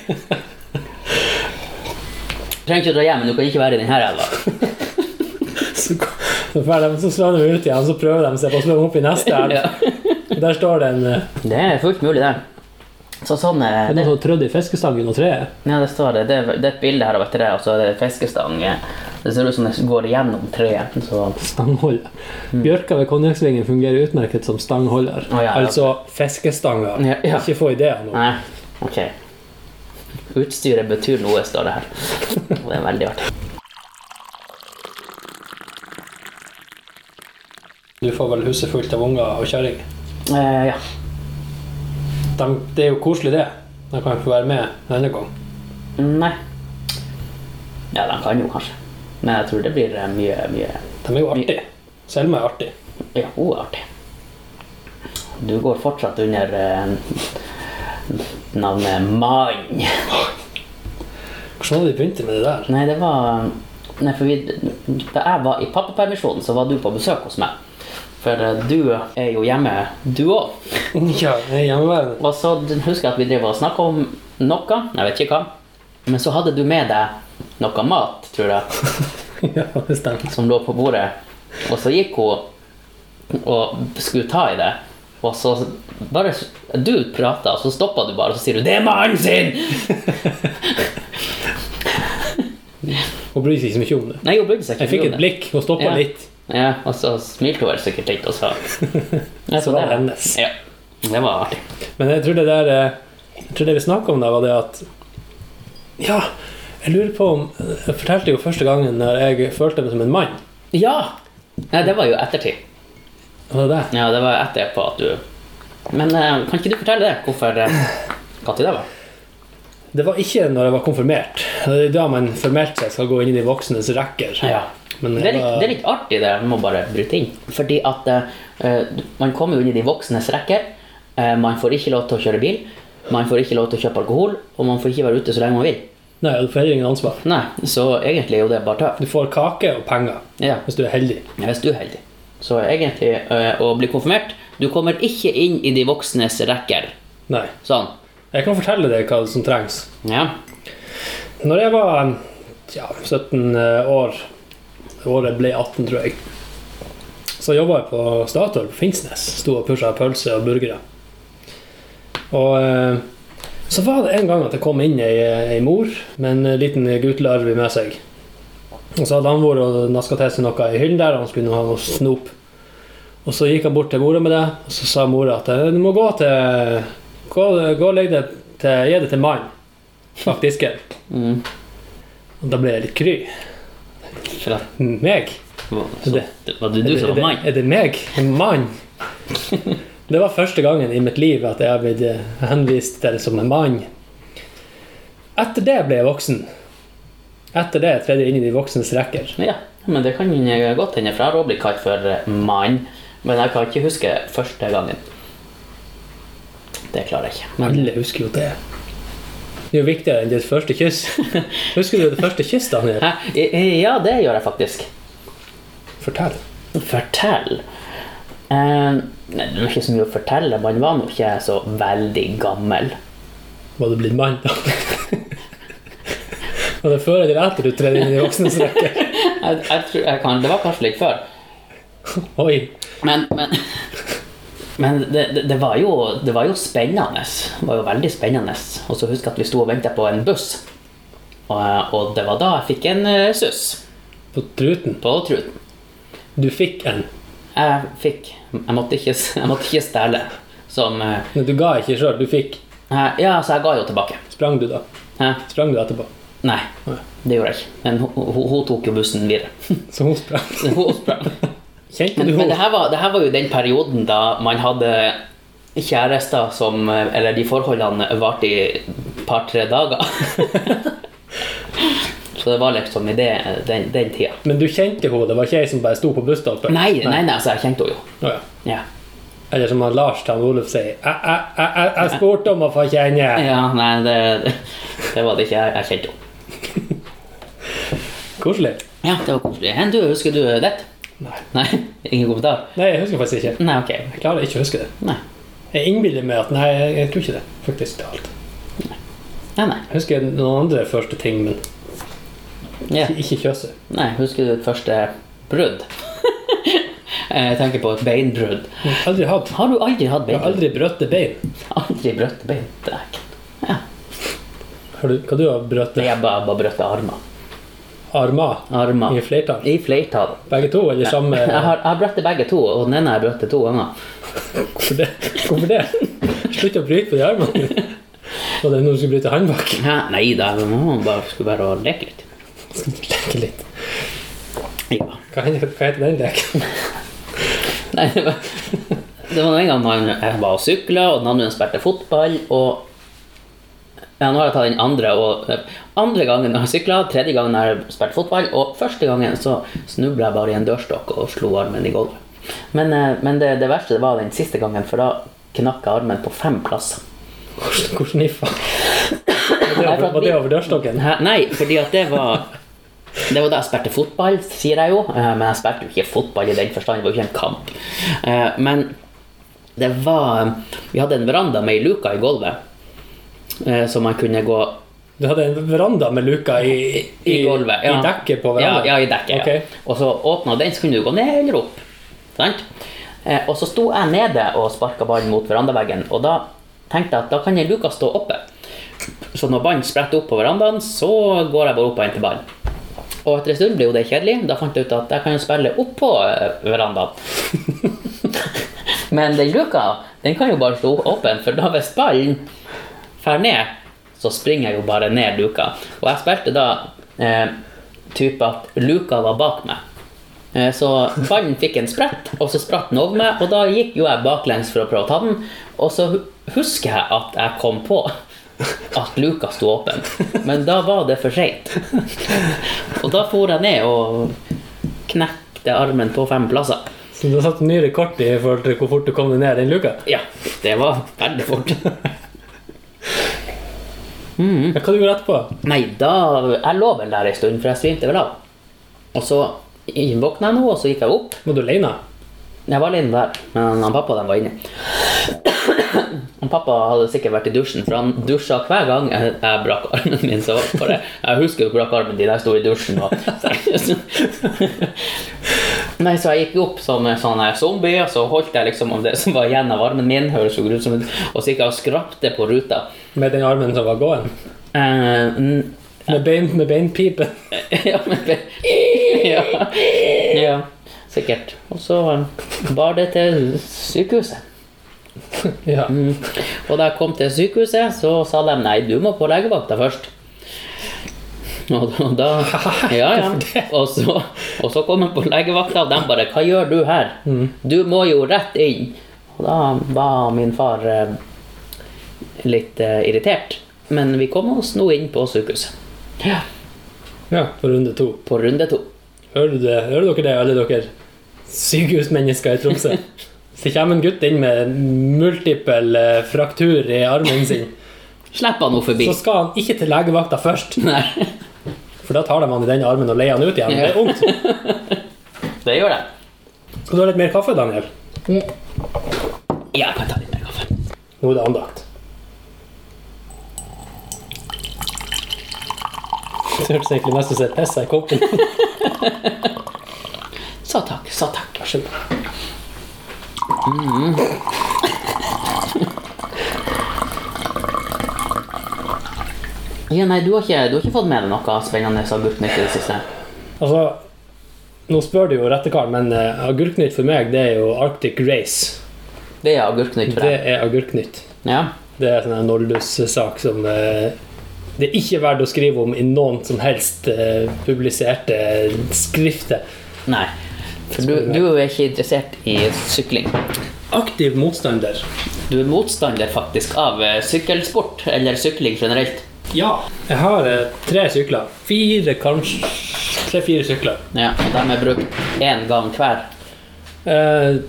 Speaker 1: Trenger ikke å dra hjem, men du kan ikke være i denne elva.
Speaker 2: Så, ko- så, fer de, så slår de ut igjen, så prøver de seg på å slå dem opp i neste elv.
Speaker 1: Ja.
Speaker 2: Der står det en eh,
Speaker 1: Det er fullt mulig, det. Så sånn eh,
Speaker 2: Er
Speaker 1: det,
Speaker 2: det noen som har trødd i fiskestangen og treet?
Speaker 1: ja, det står det. Det er, det er et bilde her av et tre, og så er det fiskestang. eh. Det ser ut som det går igjennom treet. Så
Speaker 2: Stangholder. Bjørka ved konjakksvingen fungerer utmerket som stangholder.
Speaker 1: Hmm. Å, ja, ja.
Speaker 2: Altså fiskestanger.
Speaker 1: Ja, ja.
Speaker 2: Ikke få ideer nå.
Speaker 1: Nei, ok. Utstyret betyr noe, står det her. Det er veldig artig.
Speaker 2: Du får vel huset fullt av unger og kjerringer.
Speaker 1: Eh, ja.
Speaker 2: De- Det er jo koselig, det. De kan jo få være med en annen gang.
Speaker 1: Nei. Ja, de kan jo kanskje. Men jeg tror det blir eh, mye, mye
Speaker 2: De er jo artige. Selma er artig.
Speaker 1: Ja, hun er artig. Du går fortsatt under eh, navnet Mann.
Speaker 2: Hvordan hadde de begynt med det der?
Speaker 1: Nei, det var Nei, for vi, Da jeg var i pappapermisjon, så var du på besøk hos meg. For eh, du er jo hjemme, du òg.
Speaker 2: Ja, jeg er hjemmeværende.
Speaker 1: Og så husker jeg at vi drev og snakka om noe, jeg vet ikke hva. Men så hadde du med deg noe mat, tror jeg,
Speaker 2: ja, det stemmer.
Speaker 1: som lå på bordet. Og så gikk hun og skulle ta i det. Og så bare Du prata, og så stoppa du bare, og så sier du 'Det er mannen sin!'
Speaker 2: Hun bryr seg ikke så mye om det.
Speaker 1: Nei, hun brydde seg ikke.
Speaker 2: Jeg fikk
Speaker 1: om
Speaker 2: et blikk og stoppa
Speaker 1: Ja.
Speaker 2: litt.
Speaker 1: Ja, og så smilte hun vel sikkert litt, og så Ja,
Speaker 2: Så var det hennes.
Speaker 1: Ja. Det var artig.
Speaker 2: Men jeg tror det der eh, Jeg tror det vi snakka om da, var det at Ja, jeg lurer på om Jeg fortalte jo første gangen når jeg følte meg som en mann.
Speaker 1: Ja! Nei, det var jo ettertid.
Speaker 2: Var det det?
Speaker 1: Ja, det var etterpå at du Men eh, kan ikke du fortelle det? Hvorfor eh, Hva til det var?
Speaker 2: Det var ikke når jeg var konfirmert. Det er da man formelt sett skal gå inn i de voksnes rekker.
Speaker 1: Ja.
Speaker 2: Men
Speaker 1: Det er,
Speaker 2: jeg
Speaker 1: litt, det er
Speaker 2: var,
Speaker 1: litt artig, det. Jeg må bare bryte inn. Fordi at eh, du- man kommer jo inn i de voksnes rekker. Eh, man får ikke lov til å kjøre bil. Man får ikke lov til å kjøpe alkohol, og man får ikke være ute så lenge man vil.
Speaker 2: nei, du får heller ingen ansvar.
Speaker 1: Nei, Så egentlig er jo det bare tøv.
Speaker 2: Du får kake og penger
Speaker 1: Ja,
Speaker 2: hvis du er heldig.
Speaker 1: hvis du er heldig. Så egentlig, eh, å bli konfirmert Du kommer ikke inn i de voksnes rekker.
Speaker 2: Nei.
Speaker 1: Sånn.
Speaker 2: Jeg kan fortelle deg hva som trengs.
Speaker 1: Ja.
Speaker 2: Når jeg var ja, 17 år, året ble 18, tror jeg, så jobba jeg på Statoil på Finnsnes. Sto og pusha pølse og burgere. Og eh, så var det en gang at det kom inn ei, ei mor med en liten guttelarv med seg. Og så hadde han vært og naska til seg noe i hyllen der, og han skulle nå ha noe snop. Og så gikk han bort til mora med det, og så sa mora at eh, du må gå til Gå, gå og legg det til Gi det til mannen bak disken.
Speaker 1: Mm.
Speaker 2: Og da ble jeg litt kry.
Speaker 1: For at,
Speaker 2: Meg?
Speaker 1: så, det var det du som
Speaker 2: er,
Speaker 1: var
Speaker 2: det,
Speaker 1: mann?
Speaker 2: er det meg? En mann? Det var første gangen i mitt liv at jeg har blitt eh, henvist til som en mann. Etter det ble jeg voksen. Etter det tredde jeg inn i de voksnes rekker.
Speaker 1: Ja, men det kan jeg godt hende, for jeg har også blitt kalt for eh, mann. Men jeg kan ikke huske første gangen. Det klarer jeg ikke. Men
Speaker 2: Alle husker jo det. Det er jo viktigere enn ditt første kyss. Husker du det første kyss, Daniel?
Speaker 1: Hæ? I- i- Ja, det gjør jeg faktisk.
Speaker 2: Fortell.
Speaker 1: Fortell. Eh, nei, det var ikke så mye å fortelle. Man var nå ikke så veldig gammel.
Speaker 2: Var du blitt mann, da? Var det før eller etter du tredde inn i de voksnes rekker?
Speaker 1: Jeg, jeg tror jeg kan, Det var kanskje litt før.
Speaker 2: Oi.
Speaker 1: Men, men, men det, det, det, var jo, det var jo spennende. Det var jo veldig spennende. Og så husker jeg at vi sto og venta på en buss. Og, og det var da jeg fikk en eh, suss
Speaker 2: På truten.
Speaker 1: på truten.
Speaker 2: Du fikk en.
Speaker 1: Jeg fikk Jeg måtte ikke, jeg måtte ikke stjele. Som eh,
Speaker 2: Men du ga ikke sjøl, du fikk.
Speaker 1: jeg- Ja, så jeg ga jo tilbake.
Speaker 2: Sprang du, da?
Speaker 1: Hæ?
Speaker 2: Sprang du etterpå?
Speaker 1: Nei, det gjorde jeg ikke. Men hun, hun, hun tok jo bussen videre.
Speaker 2: Så hun sprang.
Speaker 1: Hun sprang.
Speaker 2: Kjente
Speaker 1: Men,
Speaker 2: du
Speaker 1: men det,
Speaker 2: henne?
Speaker 1: her var, det her var jo den perioden da man hadde kjærester som Eller de forholdene varte i et par-tre dager. Så det var liksom i det, den, den tida.
Speaker 2: Men du kjente henne? Det var ikke ei som bare sto på busstoppet?
Speaker 1: Nei, nei, nei, altså, jeg kjente henne jo.
Speaker 2: Å ja.
Speaker 1: Ja.
Speaker 2: Eller som han Lars til han Oluf sier «Jeg- jeg- Jeg jeg- jeg spurte om å få kjenne!
Speaker 1: ja, nei, det, det var det ikke. Jeg, jeg kjente henne.
Speaker 2: Koselig.
Speaker 1: Ja, det var koselig. Hen, du, husker du ditt?
Speaker 2: Nei.
Speaker 1: Nei, ingen kommentar?
Speaker 2: Nei, jeg husker faktisk ikke.
Speaker 1: Nei, ok.
Speaker 2: Jeg klarer ikke å huske det.
Speaker 1: Nei,
Speaker 2: Jeg innbiller meg at Nei, jeg, jeg tror ikke det. Faktisk til alt.
Speaker 1: nei. nei.
Speaker 2: Jeg husker noen andre første ting, men
Speaker 1: Ja.
Speaker 2: ikke, ikke kjøse.
Speaker 1: nei husker du ditt første brudd? jeg tenker på et beinbrudd.
Speaker 2: Aldri hatt.
Speaker 1: Har du aldri hatt
Speaker 2: Jeg har
Speaker 1: beinbrudd?
Speaker 2: aldri brøtt et bein.
Speaker 1: Aldri brøtt bein? Dæken.
Speaker 2: Har du, hva du har brøtt?
Speaker 1: Nei, Jeg bare, bare brøtte armer.
Speaker 2: Armer? I
Speaker 1: Armer.
Speaker 2: flertall?
Speaker 1: I flertall. eh,
Speaker 2: Begge to, eller samme?
Speaker 1: Jeg har, jeg har brøtte begge to, og den ene har jeg brøtte to ganger.
Speaker 2: Hvorfor det? Hvorfor det? Slutt å bryte på de armene. Var det når du skulle bryte håndbak?
Speaker 1: Hæ? Nei da, men man bare, skulle bare leke litt.
Speaker 2: Leke litt.
Speaker 1: Ja.
Speaker 2: Hva heter, hva heter den leken?
Speaker 1: Nei, det var, det var en gang man, jeg var og sykla, og den andre spilte fotball, og ja, nå har jeg tatt den andre, og eh, andre gangen har jeg sykla, tredje gangen har jeg spilt fotball, og første gangen så snubla jeg bare i en dørstokk og slo armen i gulvet. Men, eh, men det, det verste var den siste gangen, for da knakk jeg armen på fem plasser.
Speaker 2: Hvordan- Hvordan i faen? Var det over- Var det over dørstokken?
Speaker 1: Hæ? Nei, fordi at det var Det var da jeg spilte fotball, sier jeg jo. Eh, Men jeg spilte jo ikke fotball i den forstand, det var jo ikke en kamp. Eh, Men det var Vi hadde en veranda med ei luke i gulvet, eh, så man kunne gå
Speaker 2: Du hadde en veranda med luka i,
Speaker 1: i gulvet.
Speaker 2: i dekket på verandaen?
Speaker 1: Ja, ja i dekket.
Speaker 2: Ok.
Speaker 1: Ja. Og så åpna den, så kunne du gå ned eller opp. Sant? Eh, Og så sto jeg nede og sparka ballen mot verandaveggen, og da tenkte jeg at da kan jeg luka stå oppe. Så når ballen spretter opp på verandaen, så går jeg bare opp og henter ballen. Og etter en stund ble jo det kjedelig. Da fant jeg ut at jeg kan jo spille oppå eh, verandaen. Men den luka, den kan jo bare stå åpen, for da hvis ballen fer ned, så springer jeg jo bare ned luka. Og jeg spilte da eh, type at luka var bak meg. Eh, Så ballen fikk en sprett, og så spratt den over meg, og da gikk jo jeg baklengs for å prøve å ta den, og så hu- husker jeg at jeg kom på at luka sto åpen, men da var det for seint. Og da for jeg ned og knekte armen på fem plasser.
Speaker 2: Så du har satt en ny rekord i forhold til hvor fort du kom deg ned i den luka?
Speaker 1: Ja, det var veldig fort. Mm.
Speaker 2: Ja, Hva du gjorde du etterpå?
Speaker 1: Nei, da Jeg lå vel der en stund, for jeg svimte vel av. Og så i- våkna jeg nå, og så gikk jeg opp.
Speaker 2: Var du alene?
Speaker 1: Jeg var alene der, men han pappa den var inne. Han pappa hadde sikkert vært i dusjen, for han dusja hver gang jeg, jeg brakk armen min. Så bare, jeg husker jo brakk armen din, jeg sto i dusjen og Nei, så jeg gikk opp som en sånn her zombie, og så holdt jeg liksom om det som var igjen av armen min, høres jo grusomt ut, og så gikk jeg og skrapte på ruta.
Speaker 2: Med den armen som var gåen?
Speaker 1: Eh, n-
Speaker 2: Med, bein, med beinpipen?
Speaker 1: ja, men det, ja, ja, sikkert. Og så bar det til sykehuset. Mm.
Speaker 2: Ja.
Speaker 1: Og da jeg kom til sykehuset, så sa de nei, du må på legevakta først. Og da, da Ja, ja. Og så, og så kom jeg på legevakta, og de bare Hva gjør du her? Du må jo rett inn. Og da var min far eh, litt eh, irritert. Men vi kom oss nå inn på sykehuset. Ja.
Speaker 2: ja. På runde to.
Speaker 1: På runde to.
Speaker 2: Hører, du det? Hører dere det, alle dere sykehusmennesker i Tromsø? Så kommer en gutt inn med multiple eh, fraktur i armen sin.
Speaker 1: Slipp han nå forbi.
Speaker 2: Så skal han ikke til legevakta først,
Speaker 1: Nei,
Speaker 2: for da tar de han i den armen og leier han ut igjen. Det er vondt.
Speaker 1: det gjør jeg.
Speaker 2: Skal du ha litt mer kaffe, Daniel?
Speaker 1: Ja, jeg kan ta litt mer kaffe.
Speaker 2: Nå er det andakt. Det hørtes egentlig mest ut som jeg pissa i koppen.
Speaker 1: Så takk, så takk.
Speaker 2: Vær så god.
Speaker 1: Ja, nei, du har ikke, du har ikke fått med deg noe spennende agurknytt i det siste?
Speaker 2: Altså, nå spør du jo rette karen, men eh, agurknytt for meg, det er jo Arctic Race.
Speaker 1: Det er agurknytt for
Speaker 2: Det
Speaker 1: deg?
Speaker 2: er agurknytt.
Speaker 1: Ja.
Speaker 2: Det er en Noldus-sak som eh, det er ikke verdt å skrive om i noen som helst eh, publiserte skrifter.
Speaker 1: Nei. For du, du er ikke interessert i sykling.
Speaker 2: Aktiv motstander.
Speaker 1: Du er motstander faktisk av eh, sykkelsport, eller sykling generelt.
Speaker 2: Ja. Jeg har eh, tre sykler. Fire, kanskje Tre-fire sykler.
Speaker 1: Ja, og de er brukt én gang hver.
Speaker 2: Eh,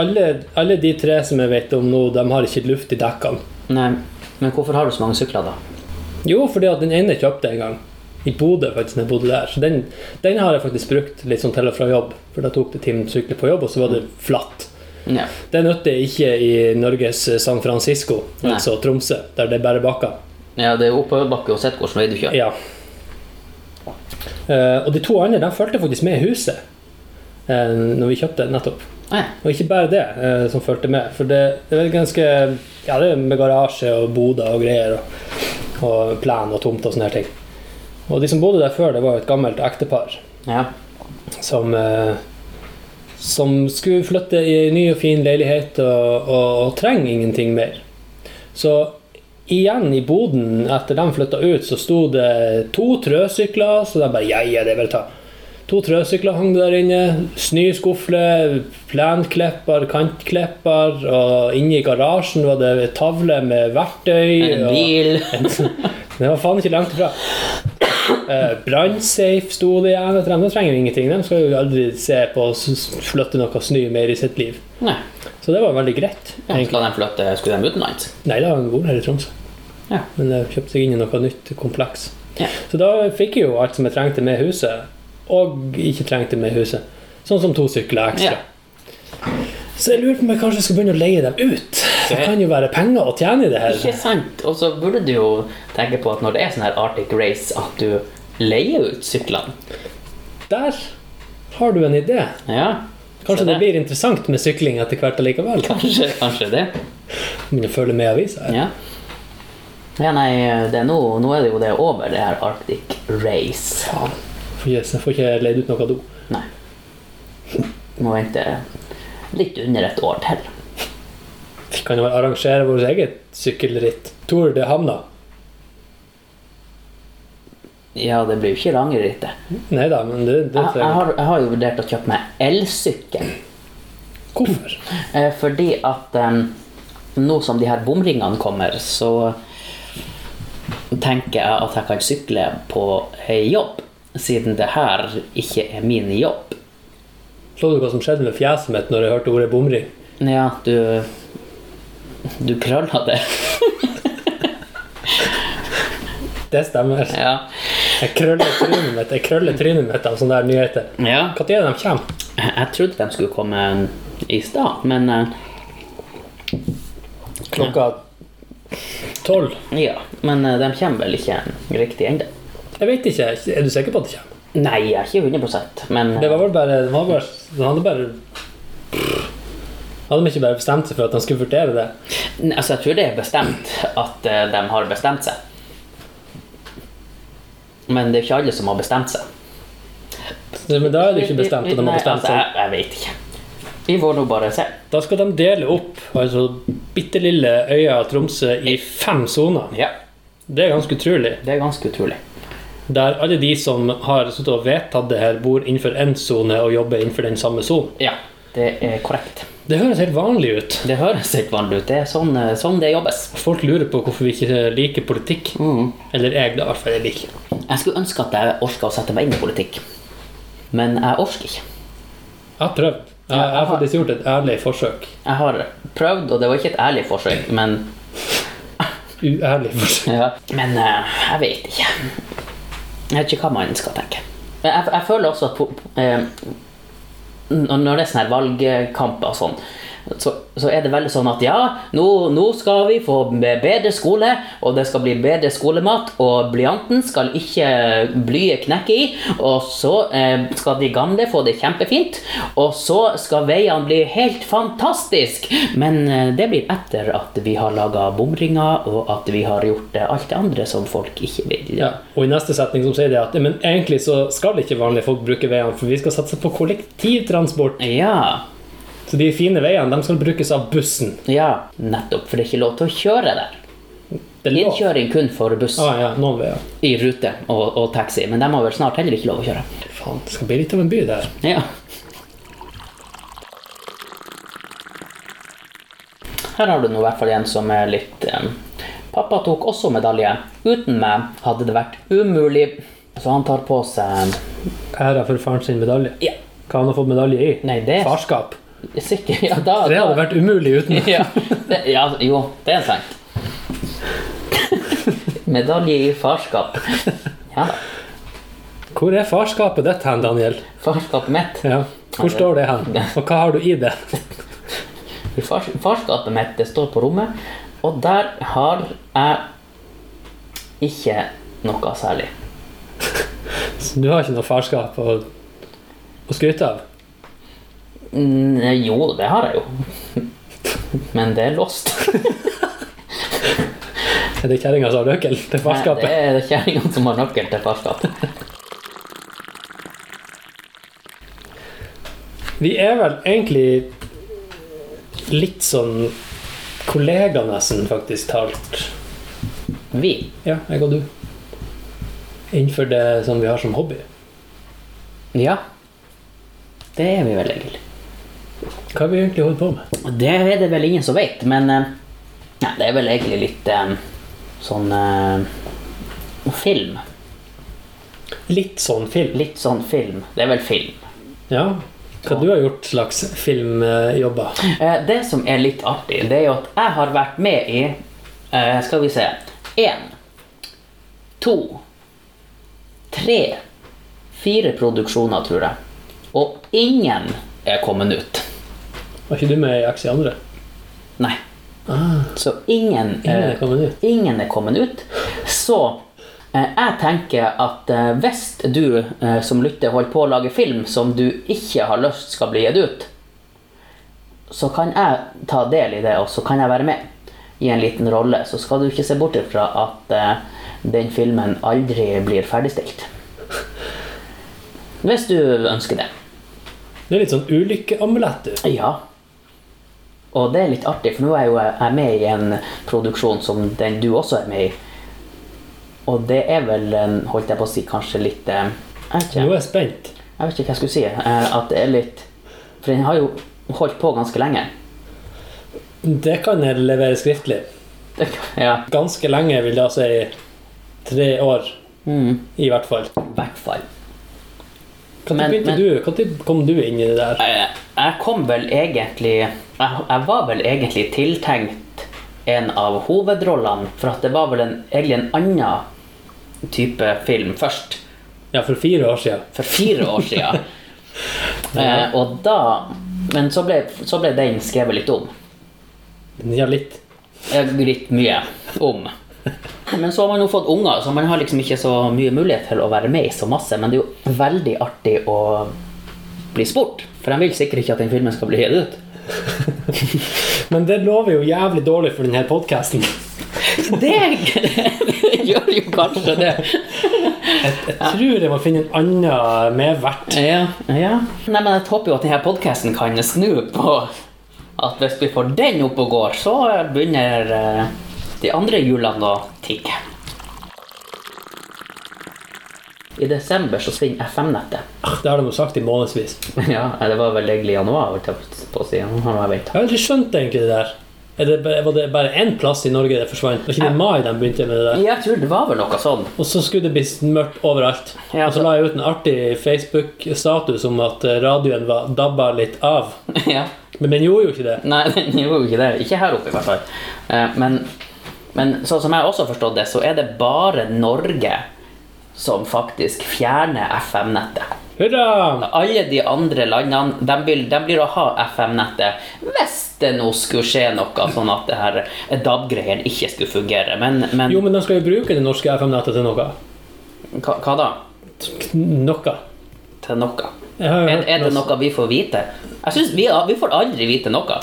Speaker 2: alle, alle de tre som jeg vet om nå, de har ikke luft i dekkene.
Speaker 1: Nei, men hvorfor har du så mange sykler, da?
Speaker 2: Jo, fordi at den ene kjøpte jeg en gang. I Bodø, faktisk. når Jeg bodde der. Så den, den har jeg faktisk brukt litt sånn til og fra jobb. For da tok det timen å sykle på jobb, og så var det flatt.
Speaker 1: Ja.
Speaker 2: Det nytter ikke i Norges San Francisco,
Speaker 1: Nei.
Speaker 2: altså Tromsø, der det er bare bakker.
Speaker 1: ja, det er oppoverbakke uansett hvilken vei du kjører.
Speaker 2: Ja. Eh, og de to andre de fulgte faktisk med i huset eh, når vi kjøpte nettopp.
Speaker 1: Ja.
Speaker 2: Og ikke bare det eh, som fulgte med, for det, det er ganske Ja, det er med garasje og boder og greier, og, og plen og tomt og sånne her ting. Og de som bodde der før, det var jo et gammelt ektepar
Speaker 1: Ja.
Speaker 2: som eh, som skulle flytte i en ny og fin leilighet og, og, og trenger ingenting mer. Så igjen i boden, etter de flytta ut, så sto det to trøsykler, så de bare ja, ja, det er bare å ta. To trøsykler hang der inne, snøskufle, plenklipper, kantklipper, og inne i garasjen var det tavle med verktøy.
Speaker 1: En
Speaker 2: og-
Speaker 1: bil.
Speaker 2: det var faen ikke langt ifra. Eh, Brannsafe sto det igjen etter dem. De trenger jo ingenting. De skal jo aldri se på å s- s- flytte noe snø mer i sitt liv.
Speaker 1: Nei.
Speaker 2: Så det var veldig greit.
Speaker 1: Ja,
Speaker 2: egentlig.
Speaker 1: skal de flytte? Skulle de utenlands?
Speaker 2: Nei, da har de vært her i Tromsø.
Speaker 1: Ja.
Speaker 2: Men de kjøpte seg inn i noe nytt kompleks.
Speaker 1: Ja.
Speaker 2: Så da fikk jeg jo alt som jeg trengte med huset, og ikke trengte med huset. Sånn som to sykler ekstra.
Speaker 1: Ja.
Speaker 2: Så jeg lurer på om jeg kanskje skal begynne å leie dem ut. Det kan jo være penger å tjene i det her.
Speaker 1: Ikke sant? Og så burde du jo tenke på at når det er sånn her Arctic Race, at du leier ut syklene.
Speaker 2: Der har du en idé.
Speaker 1: Ja.
Speaker 2: Kanskje
Speaker 1: Se
Speaker 2: det
Speaker 1: der.
Speaker 2: blir interessant med sykling etter hvert allikevel?
Speaker 1: Kanskje, kanskje det.
Speaker 2: Begynne å følge med i avisa? her.
Speaker 1: Ja. Ja, nei, det er nå, nå er det jo det over, det her Arctic Race.
Speaker 2: Faen. Får ikke- Jeg får ikke leid ut noe do.
Speaker 1: Nei. Må vente litt under et år til.
Speaker 2: Vi kan jo arrangere vårt eget sykkelritt. Tour de Hamna.
Speaker 1: Ja, det blir jo ikke Rangerittet.
Speaker 2: Nei da, men det, det
Speaker 1: Jeg, jeg, har, jeg har jo vurdert å kjøpe meg elsykkel.
Speaker 2: Hvorfor?
Speaker 1: Eh, fordi at eh, nå som de her bomringene kommer, så tenker jeg at jeg kan sykle på eh, jobb. Siden det her ikke er min jobb.
Speaker 2: Så du hva som skjedde med fjeset mitt når jeg hørte ordet bomring?
Speaker 1: Ja, du Du krølla det.
Speaker 2: Det stemmer.
Speaker 1: Ja.
Speaker 2: Jeg krøller trynet mitt jeg krøller trynet mitt av sånne der nyheter.
Speaker 1: ja.
Speaker 2: Når er det de kommer?
Speaker 1: Jeg jeg trodde de skulle komme i stad, men eh,
Speaker 2: Klokka tolv?
Speaker 1: Ja, men eh, de kommer vel ikke riktig ennå.
Speaker 2: Jeg vet ikke. Er du sikker på at det kommer?
Speaker 1: Nei, jeg er ikke 100 men
Speaker 2: Det var vel bare De hadde bare, de hadde, bare hadde de ikke bare bestemt seg for at de skulle vurdere det?
Speaker 1: Nei, altså, jeg tror det er bestemt at eh, de har bestemt seg. Men det er ikke alle som har bestemt seg.
Speaker 2: Nei, Men da er det ikke bestemt at de har bestemt
Speaker 1: Nei,
Speaker 2: seg.
Speaker 1: altså, jeg, jeg vet ikke. Vi får nå bare se.
Speaker 2: Da skal de dele opp altså bitte lille øya Tromsø i fem soner.
Speaker 1: Ja,
Speaker 2: Det er ganske utrolig.
Speaker 1: det er ganske utrolig.
Speaker 2: Der alle de som har suttet og vedtatt det her, bor innenfor én sone og jobber innenfor den samme sonen.
Speaker 1: Ja, det er korrekt.
Speaker 2: Det høres helt vanlig ut.
Speaker 1: Det høres helt vanlig ut. Det er sånn, eh, sånn det jobbes.
Speaker 2: Folk lurer på hvorfor vi ikke liker politikk.
Speaker 1: Mhm.
Speaker 2: Eller jeg, da. i hvert fall jeg liker.
Speaker 1: Jeg skulle ønske at jeg orka å sette meg inn i politikk, men jeg orker ikke.
Speaker 2: Jeg har prøvd. Jeg, jeg har faktisk gjort et ærlig forsøk.
Speaker 1: Jeg har prøvd, og det var ikke et ærlig forsøk, men
Speaker 2: Uærlig forsøk.
Speaker 1: Men eh, jeg vet ikke. Jeg vet ikke hva man skal tenke. Men Jeg, jeg føler også at po- eh, når når det er sånne her valgkamper og sånn, så, så er det veldig sånn at ja, nå, nå skal vi få be- bedre skole, og det skal bli bedre skolemat, og blyanten skal ikke blyet knekke i, og så eh, skal de gamle få det kjempefint, og så skal veiene bli helt fantastisk, men eh, det blir etter at vi har laget bomringer, og at vi har gjort eh, alt det andre som folk ikke vil.
Speaker 2: Ja, og i neste setning som sier det at men egentlig så skal ikke vanlige folk bruke veiene, for vi skal satse på kollektivtransport.
Speaker 1: Ja,
Speaker 2: Så de fine veiene de skal brukes av bussen.
Speaker 1: ja, nettopp, for det er ikke lov til å kjøre der.
Speaker 2: Det er lov.
Speaker 1: Innkjøring kun for buss.
Speaker 2: Ah, ja, noen veier.
Speaker 1: i rute og, og taxi, men de har vel snart heller ikke lov å kjøre.
Speaker 2: Faen, det skal bli litt av en by der.
Speaker 1: Ja. Her har du nå i hvert fall en som er litt eh, Pappa tok også medalje. Uten meg hadde det vært umulig. Så han tar på seg
Speaker 2: Æra for faren sin medalje.
Speaker 1: Ja,
Speaker 2: Hva han har fått medalje i?
Speaker 1: Nei, det-
Speaker 2: Farskap.
Speaker 1: sikkert ja, da,
Speaker 2: Det hadde
Speaker 1: da.
Speaker 2: vært umulig uten.
Speaker 1: ja, det, ja, jo, det er sant. Medalje i farskap. Ja da.
Speaker 2: Hvor er farskapet ditt hen, Daniel?
Speaker 1: Farskapet mitt.
Speaker 2: Ja. Hvor står det hen? Og hva har du i det?
Speaker 1: I fars, farskapet mitt, det står på rommet, og der har jeg ikke noe særlig.
Speaker 2: Så Du har ikke noe farskap å, å skryte av?
Speaker 1: Mm, jo, det har jeg jo. Men det er lost.
Speaker 2: Er det kjerringa som har nøkkel til farskapet?
Speaker 1: Nei, Det er kjerringa som har nøkkel til farskapet.
Speaker 2: Vi er vel egentlig litt sånn kollegaer, nesten, faktisk talt.
Speaker 1: Vi.
Speaker 2: Ja, jeg og du. Innenfor det som vi har som hobby.
Speaker 1: Ja. Det er vi vel egentlig.
Speaker 2: Hva har vi egentlig holdt på med?
Speaker 1: Og Det er det vel ingen som vet, men eh, nei, det er vel egentlig litt eh, sånn eh, film.
Speaker 2: Litt sånn film.
Speaker 1: Litt sånn film. Det er vel film.
Speaker 2: Ja. Hva du har gjort slags filmjobber?
Speaker 1: Eh, Det som er litt artig, det er jo at jeg har vært med i eh, Skal vi se Én, to, tre, fire produksjoner, tror jeg. Og ingen er kommet ut.
Speaker 2: Var ikke du med i Aksi andre?
Speaker 1: Nei.
Speaker 2: Ah,
Speaker 1: Så ingen,
Speaker 2: ingen er
Speaker 1: eh,
Speaker 2: kommet ut.
Speaker 1: ingen er kommet ut. Så eh, jeg tenker at eh, hvis du eh, som lytter holder på å lage film som du ikke har lyst skal bli gitt ut, så kan jeg ta del i det, og så kan jeg være med i en liten rolle. Så skal du ikke se bort ifra at eh, den filmen aldri blir ferdigstilt. Hvis du ønsker det.
Speaker 2: Det er litt sånn ulykkeamulett, du.
Speaker 1: Ja. Og det er litt artig, for nå er jo jeg jeg med i en produksjon som den du også er med i. Og det er vel, en- holdt jeg på å si, kanskje litt eh, Jeg vet
Speaker 2: Nå
Speaker 1: ikke,
Speaker 2: er jeg spent.
Speaker 1: jeg vet ikke hva jeg skulle si. eh, At det er litt For den har jo holdt på ganske lenge.
Speaker 2: Det kan jeg levere skriftlig.
Speaker 1: Det- Ja.
Speaker 2: Ganske lenge, vil jeg si. Tre år,
Speaker 1: Mm,
Speaker 2: i hvert fall.
Speaker 1: I hvert fall.
Speaker 2: Når
Speaker 1: Men-
Speaker 2: begynte
Speaker 1: men-
Speaker 2: du? Når kom du inn i det der?
Speaker 1: Jeg, Eh, jeg kom vel egentlig jeg, jeg var vel egentlig tiltenkt en av hovedrollene, for at det var vel en, egentlig en annen type film først.
Speaker 2: Ja, for fire år siden.
Speaker 1: for fire år siden. eh, og da Men så ble, så ble den skrevet litt om.
Speaker 2: Ja, litt.
Speaker 1: Eh, Litt mye om. Men så har man jo fått unger, så man har liksom ikke så mye mulighet til å være med i så masse. Men det er jo veldig artig å bli spurt, for de vil sikkert ikke at den filmen skal bli gitt ut.
Speaker 2: Men det lover jo jævlig dårlig for denne podkasten.
Speaker 1: Det gjør jo kanskje det.
Speaker 2: Jeg tror jeg må finne en annen medvert.
Speaker 1: Ja, ja. Nei, men jeg håper jo at denne podcasten kan snu på at hvis vi får den opp og går, så begynner eh, de andre hjulene å tikke. I desember så svinner FM-nettet.
Speaker 2: Ah, Det har de jo sagt i månedsvis.
Speaker 1: Ja, det var vel egentlig i januar, holdt jeg på å si. Nå har jeg ventet.
Speaker 2: Jeg har aldri skjønt egentlig det der. Er det, bare- var det bare én plass i Norge det forsvant? Var ikke det i mai de begynte med det der?
Speaker 1: Jeg tror det var vel noe sånn.
Speaker 2: Og så skulle det bli mørkt overalt.
Speaker 1: Ja,
Speaker 2: Og så
Speaker 1: så-
Speaker 2: la jeg ut en artig Facebook-status om at eh, radioen var dabba litt av.
Speaker 1: Ja.
Speaker 2: Men den gjorde jo ikke det.
Speaker 1: Nei, den gjorde jo ikke det. Ikke her oppe, i hvert fall. Eh, Men, men sånn som jeg også har forstått det, så er det bare Norge som faktisk fjerner FM-nettet.
Speaker 2: Hurra!
Speaker 1: Alle de andre landene de vil, de blir å ha FM-nettet hvis det nå skulle skje noe, sånn at det her DAB-greien ikke skulle fungere. Men, men
Speaker 2: Jo, men de skal jo bruke det norske FM-nettet til noe.
Speaker 1: hva, hva da?
Speaker 2: Noe.
Speaker 1: Til noe?
Speaker 2: Jeg har
Speaker 1: Er,
Speaker 2: jo hørt
Speaker 1: er det noe vi får vite? Jeg synes vi, vi får aldri vite noe.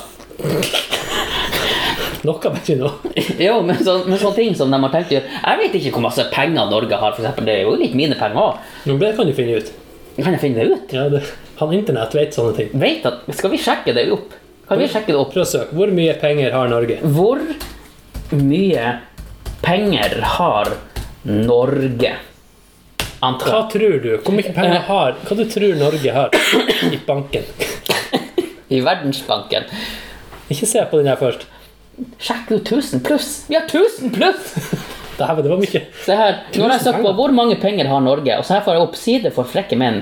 Speaker 2: Noe vet vi nå.
Speaker 1: Jo, men, så, men sånne ting som de har tenkt å gjøre Jeg vet ikke hvor masse penger Norge har, for eksempel. Det er jo litt mine penger òg.
Speaker 2: Jo, men Det kan du finne ut.
Speaker 1: Kan jeg finne det ut?
Speaker 2: Ja, det, han internett vet sånne ting.
Speaker 1: Vet at, skal vi sjekke det opp? Kan vi sjekke det opp?
Speaker 2: Prøv å søke. Hvor mye penger har Norge?
Speaker 1: Hvor mye penger har Norge?
Speaker 2: Hva
Speaker 1: Antall.
Speaker 2: tror du? Hvor mye
Speaker 1: Eh.
Speaker 2: penger har Hva du tror Norge har i banken?
Speaker 1: I Verdensbanken.
Speaker 2: Ikke se på den her først.
Speaker 1: Sjekk ut 1000 pluss! Vi har 1000 pluss!
Speaker 2: Dæven, det var mye.
Speaker 1: Se her, nå har jeg søkt på
Speaker 2: penger.
Speaker 1: hvor mange penger har Norge, og så her får jeg opp side for frekke menn.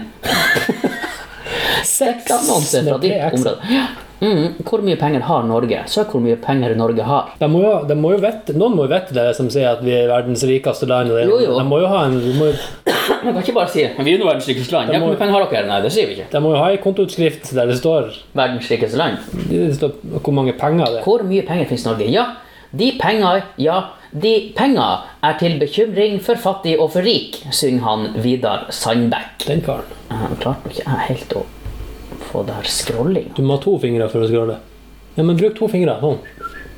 Speaker 1: Seks annonser fra
Speaker 2: med
Speaker 1: ditt
Speaker 2: tre X.
Speaker 1: område. Ja. Mm, hvor mye penger har Norge? Søk hvor mye penger Norge har.
Speaker 2: De må jo, de må jo vette, noen må jo vite det som sier at vi er verdens rikeste land. og det-
Speaker 1: Jo, jo.
Speaker 2: De må jo ha en, de må, jo-
Speaker 1: Man kan ikke bare si vi er jo verdens rikeste land. Ja, hvor mye penger har dere? Nei, det sier vi ikke.
Speaker 2: de må jo ha en kontoutskrift der det står,
Speaker 1: Verdens rikeste land.
Speaker 2: det står hvor mange penger det er.
Speaker 1: Hvor mye penger finnes i Norge? Ja, de penger, ja, de penger er til bekymring for fattig og for rik, synger han Vidar Sandbekk.
Speaker 2: Den karen.
Speaker 1: Jeg klarte ikke jeg helt å få det her scrolling.
Speaker 2: Du må ha to fingre for å skrolle. Ja, men bruk to fingre. Sånn.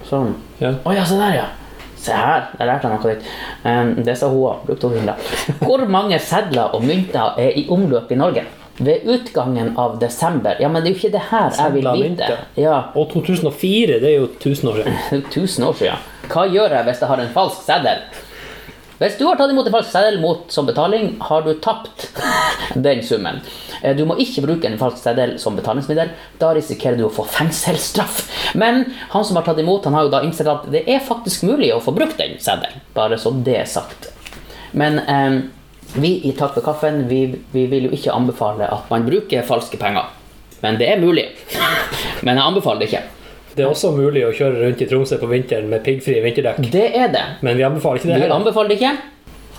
Speaker 1: Sånn.
Speaker 2: Ja.
Speaker 1: Å ja, se der, ja. Se her, der lærte jeg noe nytt. Um, det sa hoa. Brukte hun da. Hvor mange sedler og mynter er i omløp i Norge? Ved utgangen av desember Ja, men det er jo ikke det her jeg vil
Speaker 2: Sedler og
Speaker 1: vite.
Speaker 2: mynter.
Speaker 1: Ja,
Speaker 2: Og 2004, det er jo 1000 år siden.
Speaker 1: det er jo 1000 år siden. Hva gjør jeg hvis jeg har en falsk seddel? Hvis du har tatt imot en falsk seddel mot som betaling, har du tapt den summen. Eh, Du må ikke bruke en falsk seddel som betalingsmiddel. Da risikerer du å få fengselsstraff. Men han som har tatt imot, han har jo da innsett at det er faktisk mulig å få brukt den seddelen. Bare så det er sagt. Men eh, vi i Takk for kaffen vi, vi vil jo ikke anbefale at man bruker falske penger. Men det er mulig. Men jeg anbefaler det ikke.
Speaker 2: Det er også mulig å kjøre rundt i Tromsø på vinteren med piggfrie vinterdekk,
Speaker 1: Det er det.
Speaker 2: men vi anbefaler ikke det
Speaker 1: Du
Speaker 2: heller.
Speaker 1: anbefaler det ikke?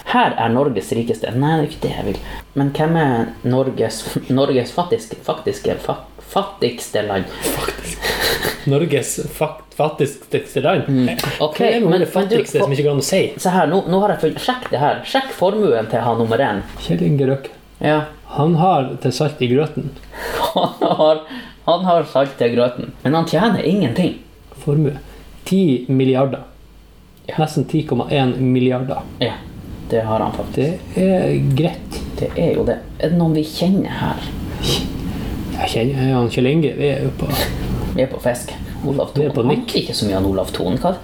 Speaker 1: Her er Norges rikeste. Nei, det er ikke det jeg vil. Men hvem er Norges, Norges fattigste, faktiske, fa, fattigste land?
Speaker 2: Norges fakt, fattigste land.
Speaker 1: Mm. Ok,
Speaker 2: Hva er det med
Speaker 1: men-
Speaker 2: ordet
Speaker 1: men du-
Speaker 2: fattigste som ikke går an å si?
Speaker 1: Se her, nå, nå har jeg funnet Sjekk det her. Sjekk formuen til han nummer én.
Speaker 2: Kjell Inge Røkke.
Speaker 1: Ja.
Speaker 2: Han har til salt i grøten
Speaker 1: Han har, han har salt til grøten. Men han tjener ingenting.
Speaker 2: formue. 10 milliarder. Nesten 10,1 milliarder.
Speaker 1: Ja, det har han faktisk.
Speaker 2: Det er greit.
Speaker 1: Det er jo det. Er det noen vi kjenner her?
Speaker 2: Jeg kjenner jeg og han Kjell Inge. Vi er jo på Det
Speaker 1: Vi er på fisk. Olav
Speaker 2: Vi
Speaker 1: Thon.
Speaker 2: er på
Speaker 1: Han
Speaker 2: nikk.
Speaker 1: ikke så mye av Olav Thon. Hva?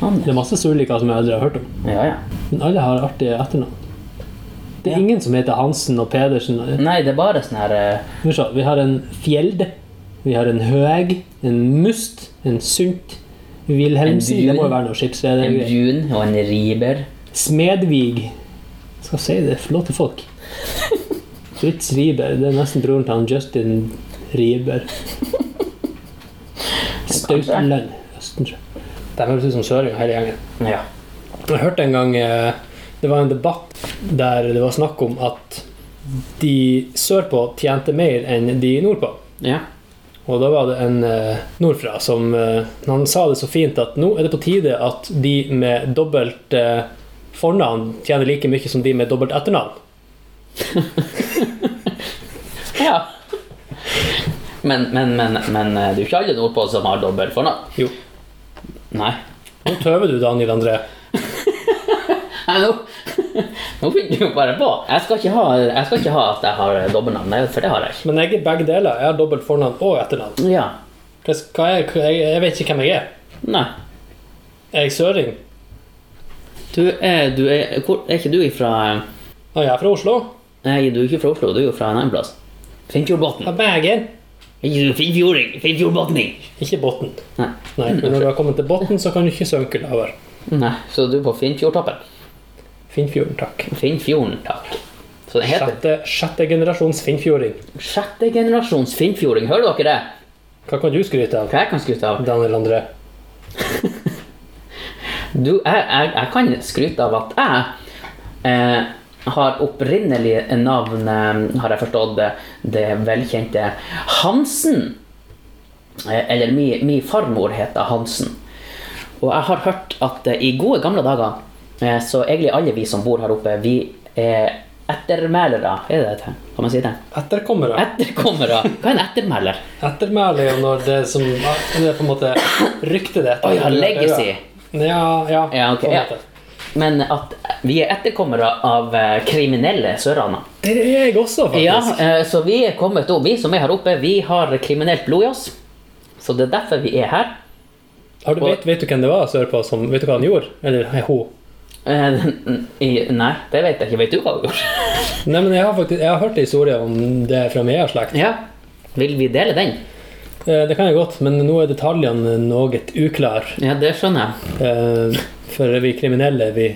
Speaker 1: Han,
Speaker 2: er masse surliker som jeg aldri har hørt om.
Speaker 1: ja, ja.
Speaker 2: Men alle har artige etternavn. Det
Speaker 1: Ja.
Speaker 2: er ingen som heter Hansen og Pedersen.
Speaker 1: Nei, det er bare sånn her eh,
Speaker 2: Hør så, Vi har en Fjeld. Vi har en Høeg. En Must. En Sundt. Wilhelmsen.
Speaker 1: En Brun.
Speaker 2: Det må jo være noe
Speaker 1: En
Speaker 2: skipsreder.
Speaker 1: brun og en riber.
Speaker 2: Smedvig. Jeg skal si det. Flotte folk. Fritz Riiber. Det er nesten broren til han Justin Riiber. Stautenland. Østensjø. De høres ut som søringer hele gjengen.
Speaker 1: Ja.
Speaker 2: Jeg hørte en gang eh, Det var en debatt der det var snakk om at de sørpå tjente mer enn de nordpå.
Speaker 1: ja.
Speaker 2: Og da var det en eh, nordfra som eh, Han sa det så fint at nå er det på tide at de med dobbelt eh, fornavn tjener like mye som de med dobbelt etternavn.
Speaker 1: Men, men, men, men eh, det er jo ikke alle nordpå som har dobbelt fornavn.
Speaker 2: Jo.
Speaker 1: Nei.
Speaker 2: Nå tøver du, Daniel André.
Speaker 1: Nei, nå Nå finner du jo bare på. Jeg skal ikke ha, jeg skal ikke ha at jeg har dobbeltnavn, det- for det har jeg ikke.
Speaker 2: Men jeg er begge deler. Jeg har dobbelt fornavn og etternavn.
Speaker 1: Ja.
Speaker 2: Hva skal jeg, hva- jeg, jeg vet ikke hvem jeg er.
Speaker 1: Nei.
Speaker 2: Er jeg søring?
Speaker 1: Du er, du er, hvor, er ikke du ifra
Speaker 2: Og jeg er fra Oslo.
Speaker 1: Nei, du er ikke fra Oslo, du er jo fra en annen plass. Finnfjordbotn.
Speaker 2: Fra Bergen.
Speaker 1: Ikke du Finnfjording, Finnfjordbotning.
Speaker 2: Ikke Botten.
Speaker 1: Nei.
Speaker 2: Nei, men når du har kommet til Botten, så kan du ikke synke lavere.
Speaker 1: Nei, så du er på Finnfjordtoppen.
Speaker 2: Finnfjorden, takk.
Speaker 1: Finnfjorden, takk. Så det heter
Speaker 2: Sjette, sjette generasjons finnfjording.
Speaker 1: Sjette generasjons finnfjording, hører dere det?
Speaker 2: Hva kan du skryte av,
Speaker 1: Hva jeg kan skryte av?
Speaker 2: Daniel André?
Speaker 1: Du, jeg, jeg, jeg kan skryte av at jeg eh, har opprinnelig navn, eh, har jeg forstått det, det velkjente Hansen. Eh, eller min mi farmor heter Hansen. Og jeg har hørt at eh, i gode gamle dager, eh, så egentlig alle vi som bor her oppe, vi er ettermælere. Er det det? Kan man si det?
Speaker 2: Etterkommere.
Speaker 1: Etterkommere. Hva er en ettermæler?
Speaker 2: Ettermæle er jo når det som det er på en måte ryktet det etter.
Speaker 1: Å ja, legacy.
Speaker 2: Ja, ja.
Speaker 1: Ja, ok,
Speaker 2: på en
Speaker 1: ja.
Speaker 2: måte.
Speaker 1: Men at vi er etterkommere av eh, kriminelle sørraner.
Speaker 2: Det er jeg også, faktisk.
Speaker 1: Ja, eh, så vi er kommet opp, vi som er her oppe, vi har kriminelt blod i oss. Så det er derfor vi er her.
Speaker 2: Har du, vet, vet du hvem det var sørpå som Vet du hva han gjorde? Eller hei, hun?
Speaker 1: Eh, i- Nei, det vet jeg ikke. Vet du hva du gjorde?
Speaker 2: Nei, men jeg har faktisk Jeg har hørt en historie om det fra min egen slekt.
Speaker 1: Ja. Vil vi dele den?
Speaker 2: Eh, Det kan jeg godt, men nå er detaljene noe uklare.
Speaker 1: Ja, det skjønner jeg.
Speaker 2: Eh, For vi kriminelle, vi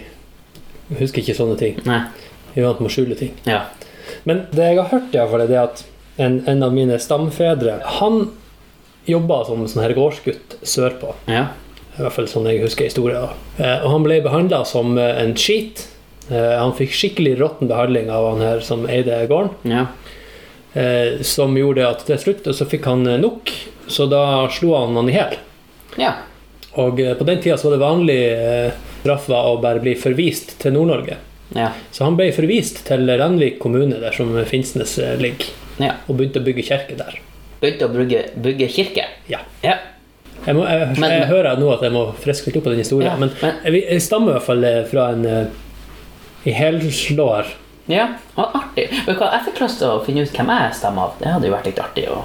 Speaker 2: husker ikke sånne ting.
Speaker 1: Nei.
Speaker 2: Vi er vant med å skjule ting.
Speaker 1: Ja.
Speaker 2: Men det jeg har hørt, i hvert fall, er det at en, en av mine stamfedre Han jobba som sånn her gårdsgutt sørpå.
Speaker 1: Ja.
Speaker 2: I hvert fall sånn jeg husker historien. Eh, Og han ble behandla som eh, en skit. Eh, Han fikk skikkelig råtten behandling av han her som eide gården.
Speaker 1: Ja.
Speaker 2: eh, Som gjorde at til slutt så fikk han eh, nok, så da slo han han i hjel.
Speaker 1: Ja.
Speaker 2: Og eh, på den tida så var det vanlig eh, straff var å bare bli forvist til Nord-Norge.
Speaker 1: Ja.
Speaker 2: Så han ble forvist til Renvik kommune, der som Finnsnes eh, ligger,
Speaker 1: ja.
Speaker 2: og begynte å bygge kirke der.
Speaker 1: Begynte å bygge, bygge kirke.
Speaker 2: Ja.
Speaker 1: Ja.
Speaker 2: Jeg, må, jeg,
Speaker 1: Men-
Speaker 2: jeg hører nå at jeg må friske litt opp på den historien,
Speaker 1: Ja,
Speaker 2: men,
Speaker 1: men-
Speaker 2: jeg, jeg stammer i hvert fall eh, fra en eh, i helslår.
Speaker 1: Ja, og artig. Vet du hva, jeg fikk lyst til å finne ut hvem jeg stemmer av. Det hadde jo vært litt artig å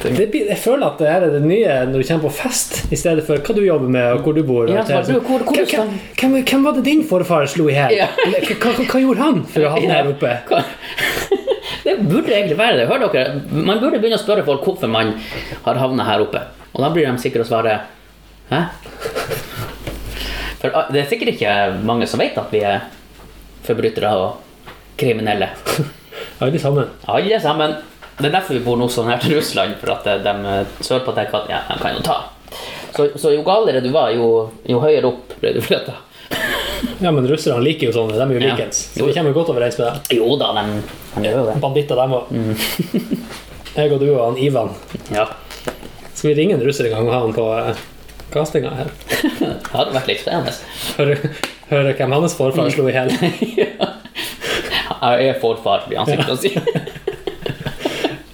Speaker 1: finne ut.
Speaker 2: Det blir, jeg føler at det her er det nye når du kommer på fest, i stedet for hva du jobber med og hvor du bor. Og
Speaker 1: Ja,
Speaker 2: alt det her.
Speaker 1: for du- hvor- hvor du
Speaker 2: hvem, hvem, hvem, hvem var det din forfar slo i hjel?
Speaker 1: Ja.
Speaker 2: Eller Hva, hva, hva gjorde han for å havne her oppe?
Speaker 1: Hva- Det burde egentlig være det. Hør dere, man burde begynne å spørre folk hvorfor man har havnet her oppe. Og da blir de sikre å svare Hæ? For ah, det er sikkert ikke mange som vet at vi er forbrytere og kriminelle.
Speaker 2: Alle sammen.
Speaker 1: Alle sammen. Det er derfor vi bor nå så nært Russland, for at eh, de eh, sørpå tenker at ja, de kan jo ta. Så, så jo galere du var, jo, jo høyere opp ble du flytta.
Speaker 2: Ja, men russerne liker jo sånne. De er jo
Speaker 1: Ja.
Speaker 2: likens. Så vi kommer godt overens med dem.
Speaker 1: Jo da, de, de gjør jo det.
Speaker 2: Banditter, dem òg.
Speaker 1: Mm.
Speaker 2: jeg og du og han Ivan.
Speaker 1: Ja.
Speaker 2: Skal vi ringe en russer en gang og ha han på eh, castinga her?
Speaker 1: Det hadde vært litt spennende.
Speaker 2: Høre, høre hvem hans forfar slo i hjel.
Speaker 1: Mm. Jeg er forfar, blir han sikkert å si.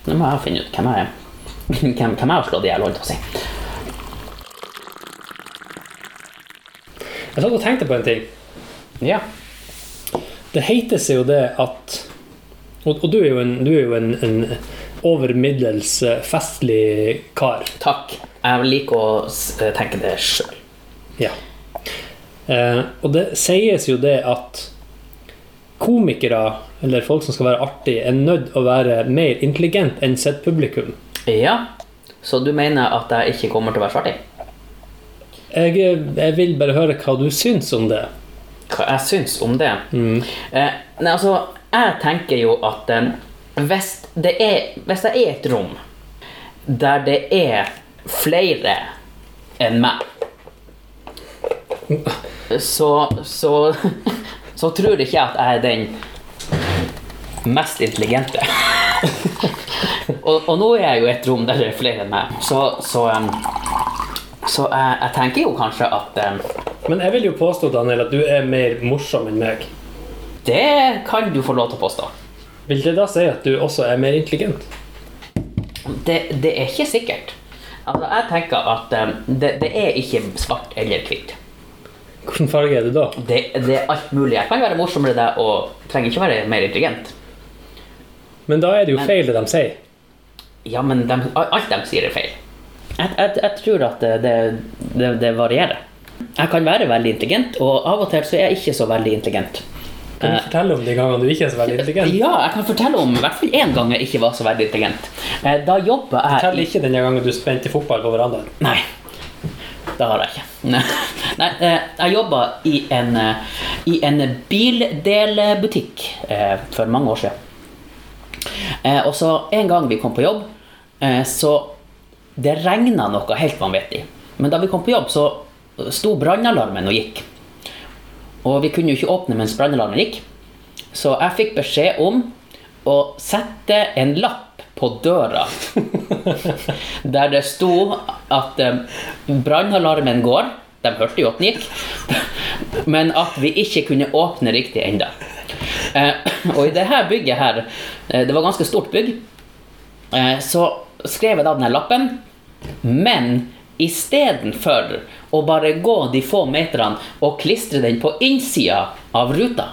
Speaker 1: Nå må jeg finne ut hvem jeg er. Hvem, hvem jeg har slått i hjel, holdt jeg på å si.
Speaker 2: Jeg satt og tenkte på en ting.
Speaker 1: Ja.
Speaker 2: Det heter seg jo det at Og, og du er jo en, du er jo en, en over middels eh, festlig kar.
Speaker 1: Takk. Jeg liker å s- tenke det sjøl.
Speaker 2: Ja. Eh, og det sies jo det at komikere, eller folk som skal være artige, er nødt å være mer intelligent enn sitt publikum.
Speaker 1: Ja. Så du mener at jeg ikke kommer til å være svarting?
Speaker 2: Jeg, jeg vil bare høre hva du syns om det.
Speaker 1: hva jeg syns om det. Eh, nei, altså, jeg tenker jo at eh, hvis, det er, hvis det er et rom der det er flere enn meg, så, så, så tror ikke jeg at jeg er den mest intelligente. og, og nå er jeg jo i et rom der det er flere enn meg, så, så, eh, så jeg, jeg tenker jo kanskje at eh,
Speaker 2: Men jeg vil jo påstå Daniel, at du er mer morsom enn meg.
Speaker 1: Det kan du få lov til å påstå.
Speaker 2: Vil det da si at du også er mer intelligent?
Speaker 1: Det, det er ikke sikkert. Altså, jeg tenker at eh, det, det er ikke svart eller hvitt.
Speaker 2: Hvilken farge er du da?
Speaker 1: Det, det er alt mulig. Jeg kan være morsommere enn deg og trenger ikke være mer intelligent.
Speaker 2: Men da er det jo
Speaker 1: Men-
Speaker 2: feil det de sier.
Speaker 1: Ja, men dem- alt de sier er feil. Jeg, jeg, jeg tror at det, det, det, det varierer. Jeg kan være veldig intelligent, og av og til så er jeg ikke så veldig intelligent.
Speaker 2: Kan du fortelle om de gangene du ikke er så veldig intelligent?
Speaker 1: Eh. Ja, jeg kan fortelle om i hvert fall én gang jeg ikke var så veldig intelligent. Eh, Da jobba jeg
Speaker 2: Fortell ikke den gangen du spente fotball på verandaen.
Speaker 1: Nei. Det har jeg ikke. Nei, Nei eh, jeg jobba i en, eh, i en bildelebutikk eh, for mange år siden. Eh, og så en gang vi kom på jobb, eh, så det regna noe helt vanvittig. Men da vi kom på jobb, så sto brannalarmen og gikk. Og vi kunne jo ikke åpne mens brannalarmen gikk. Så jeg fikk beskjed om å sette en lapp på døra der det sto at eh, brannalarmen går. De hørte jo at den gikk. Men at vi ikke kunne åpne riktig ennå. Eh, og i det her bygget her, eh, det var ganske stort bygg, eh, så skrev jeg da denne lappen. Men istedenfor å bare gå de få meterne og klistre den på innsida av ruta,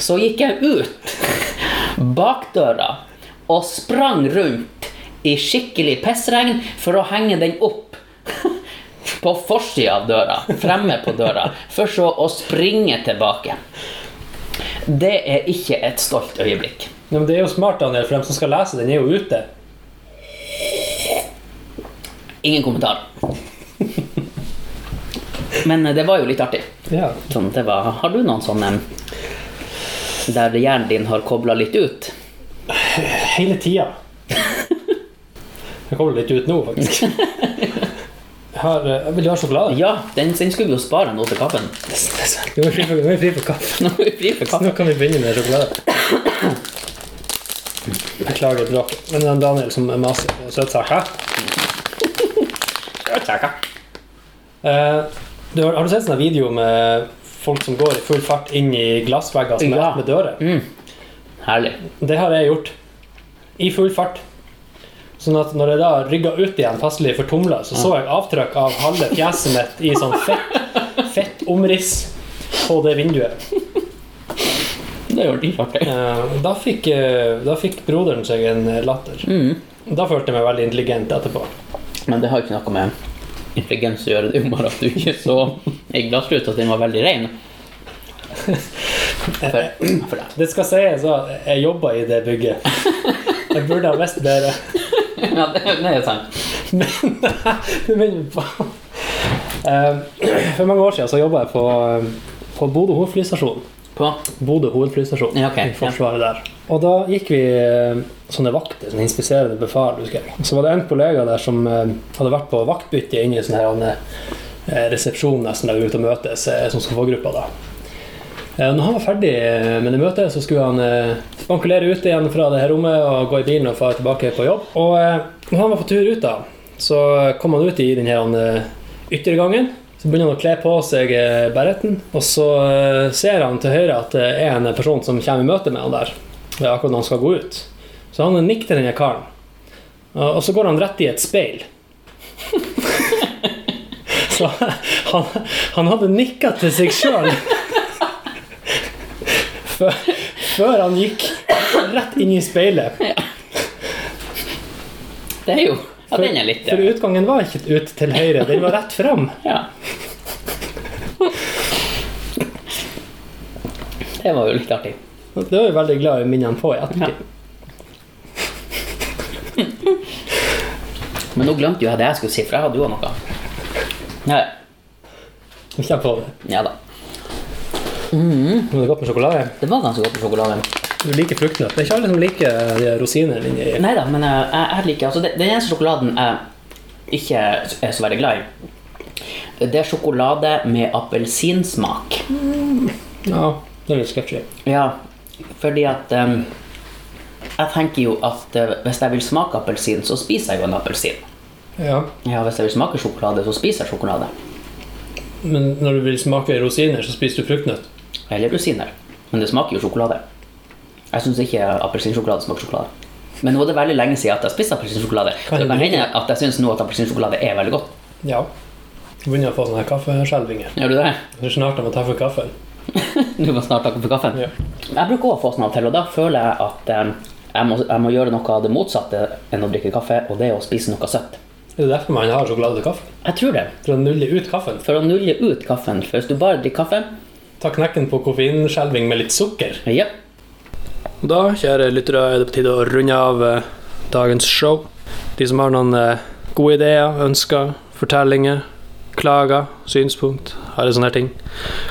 Speaker 1: så gikk jeg ut bakdøra og sprang rundt i skikkelig pissregn for å henge den opp på forsida av døra, fremme på døra, for så å springe tilbake. Det er ikke et stolt øyeblikk.
Speaker 2: Ja, men det er jo smart, Daniel, for dem som skal lese den, er jo ute.
Speaker 1: Ingen kommentar. Men eh, det var jo litt artig.
Speaker 2: Ja.
Speaker 1: Sånn, det var, har du noen sånne eh, der hjernen din har kobla litt ut?
Speaker 2: Hele tida. Jeg kommer litt ut nå, faktisk. Jeg har, eh, vil du ha sjokolade?
Speaker 1: Ja, den, den skulle vi jo spare nå til kaffen.
Speaker 2: Nå er vi fri for- nå er vi fri for kaffe.
Speaker 1: Nå er vi fri for
Speaker 2: Så
Speaker 1: kaffe.
Speaker 2: nå kan vi begynne med sjokolade. Beklager bråket. Men det er Daniel som maser på søtsaker. Eh, du, har, har du sett sånne videoer med folk som går i full fart inn i glassvegger som er
Speaker 1: Ja.
Speaker 2: med dører?
Speaker 1: Mm. Herlig.
Speaker 2: Det har jeg gjort. I full fart. Sånn at når jeg da rygga ut igjen, passelig fortumla, så så jeg avtrykk av halve fjeset mitt i sånn fett, fett omriss på det vinduet.
Speaker 1: Det gjør de artig.
Speaker 2: Eh, Da fikk, eh, da fikk broderen seg en latter.
Speaker 1: Mm.
Speaker 2: Da følte jeg meg veldig intelligent etterpå.
Speaker 1: Men det har jo ikke noe med intelligens å gjøre. Det er jo bare at du ikke så i glassruta at den var veldig ren. For, for deg.
Speaker 2: Det skal sies at jeg jobba i det bygget. Jeg burde ha visst bedre.
Speaker 1: Ja, det, det er sant.
Speaker 2: Men det minner meg på Eh, For mange år siden så jobba jeg på, eh, på Bodø hovedflystasjon.
Speaker 1: På?
Speaker 2: Bodø hovedflystasjon.
Speaker 1: Ja, ok.
Speaker 2: i Forsvaret der. Og da gikk vi eh, sånne vakter, sånne inspiserende befal, husker jeg. Så var det en kollega der som eh, hadde vært på vaktbytte inne i sånn her han, eh, resepsjon nesten der vi er ute og møtes, eh, som skal få gruppa da. Eh, Når han var ferdig eh, med det møtet, så skulle han eh, spankulere ut igjen fra det her rommet og gå i bilen og dra tilbake på jobb. Og eh, når han var på tur ut, da, så kom han ut i den her eh, yttergangen. Så begynner han å kle på seg eh, bereten, og så eh, ser han til høyre at det er en person som kommer i møte med han der. Det er akkurat når han skal gå ut. Så han nikker til denne karen, og og så går han rett i et speil. så han, han hadde nikka til seg sjøl før, før han gikk rett inn i speilet.
Speaker 1: Det er jo Ja,
Speaker 2: For,
Speaker 1: den er litt
Speaker 2: for utgangen var ikke ut til høyre, den var rett fram.
Speaker 1: Ja. Det var jo litt artig.
Speaker 2: Det var jeg veldig glad i minnene på i ettertid.
Speaker 1: Men nå glemte jo jeg det jeg skulle si, for jeg hadde jo også noe. Nei,
Speaker 2: Kjenn på det.
Speaker 1: ja da.
Speaker 2: Men det er godt med sjokolade.
Speaker 1: Det var ganske godt med sjokolade.
Speaker 2: Du liker fruktnøtt. Det er ikke alle som liker de rosinene inni.
Speaker 1: Nei da, men jeg, jeg, jeg liker altså, det, Den eneste sjokoladen jeg ikke er så veldig glad i, det er sjokolade med appelsinsmak.
Speaker 2: Ja, det er litt sketchy.
Speaker 1: Ja, fordi at em, Jeg tenker jo at eh, hvis jeg vil smake appelsin, så spiser jeg jo en appelsin.
Speaker 2: Ja.
Speaker 1: Ja, hvis jeg vil smake sjokolade, så spiser jeg sjokolade.
Speaker 2: Men når du vil smake rosiner, så spiser du fruktnøtt.
Speaker 1: Eller rosiner. Men det smaker jo sjokolade. Jeg syns ikke appelsinsjokolade smaker sjokolade. Men nå er det veldig lenge siden at jeg spiste appelsinsjokolade. Så
Speaker 2: Kan
Speaker 1: det kan
Speaker 2: du-
Speaker 1: hende at jeg syns nå at appelsinsjokolade er veldig godt.
Speaker 2: Ja. Jeg begynner å få sånne her kaffeskjelvinger.
Speaker 1: Gjør du det?
Speaker 2: Det er snart jeg må ta for kaffen.
Speaker 1: Du må snart takke for kaffen.
Speaker 2: Ja.
Speaker 1: Jeg bruker også å få sånn av og til, og da føler jeg at eh, jeg, må, jeg må gjøre noe av det motsatte enn å drikke kaffe, og det er å spise noe søtt.
Speaker 2: Er det derfor man har sjokolade til kaffe?
Speaker 1: Jeg tror det.
Speaker 2: For å nulle ut kaffen.
Speaker 1: For å nulle ut kaffen. For hvis du bare drikker kaffe
Speaker 2: Ta knekken på koffeinskjelving med litt sukker.
Speaker 1: ja.
Speaker 2: Da, kjære lyttere, er det på tide å runde av eh, dagens show. De som har noen eh, gode ideer, ønsker, fortellinger, klager, synspunkt, alle sånne her ting,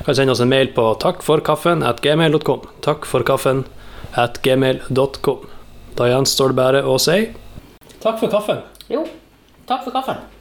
Speaker 2: kan sende oss en mail på takkforkaffen at gmail.com. Takkforkaffen at gmail.com. Da gjenstår det bare å si Takk for kaffen.
Speaker 1: Jo, takk for kaffen.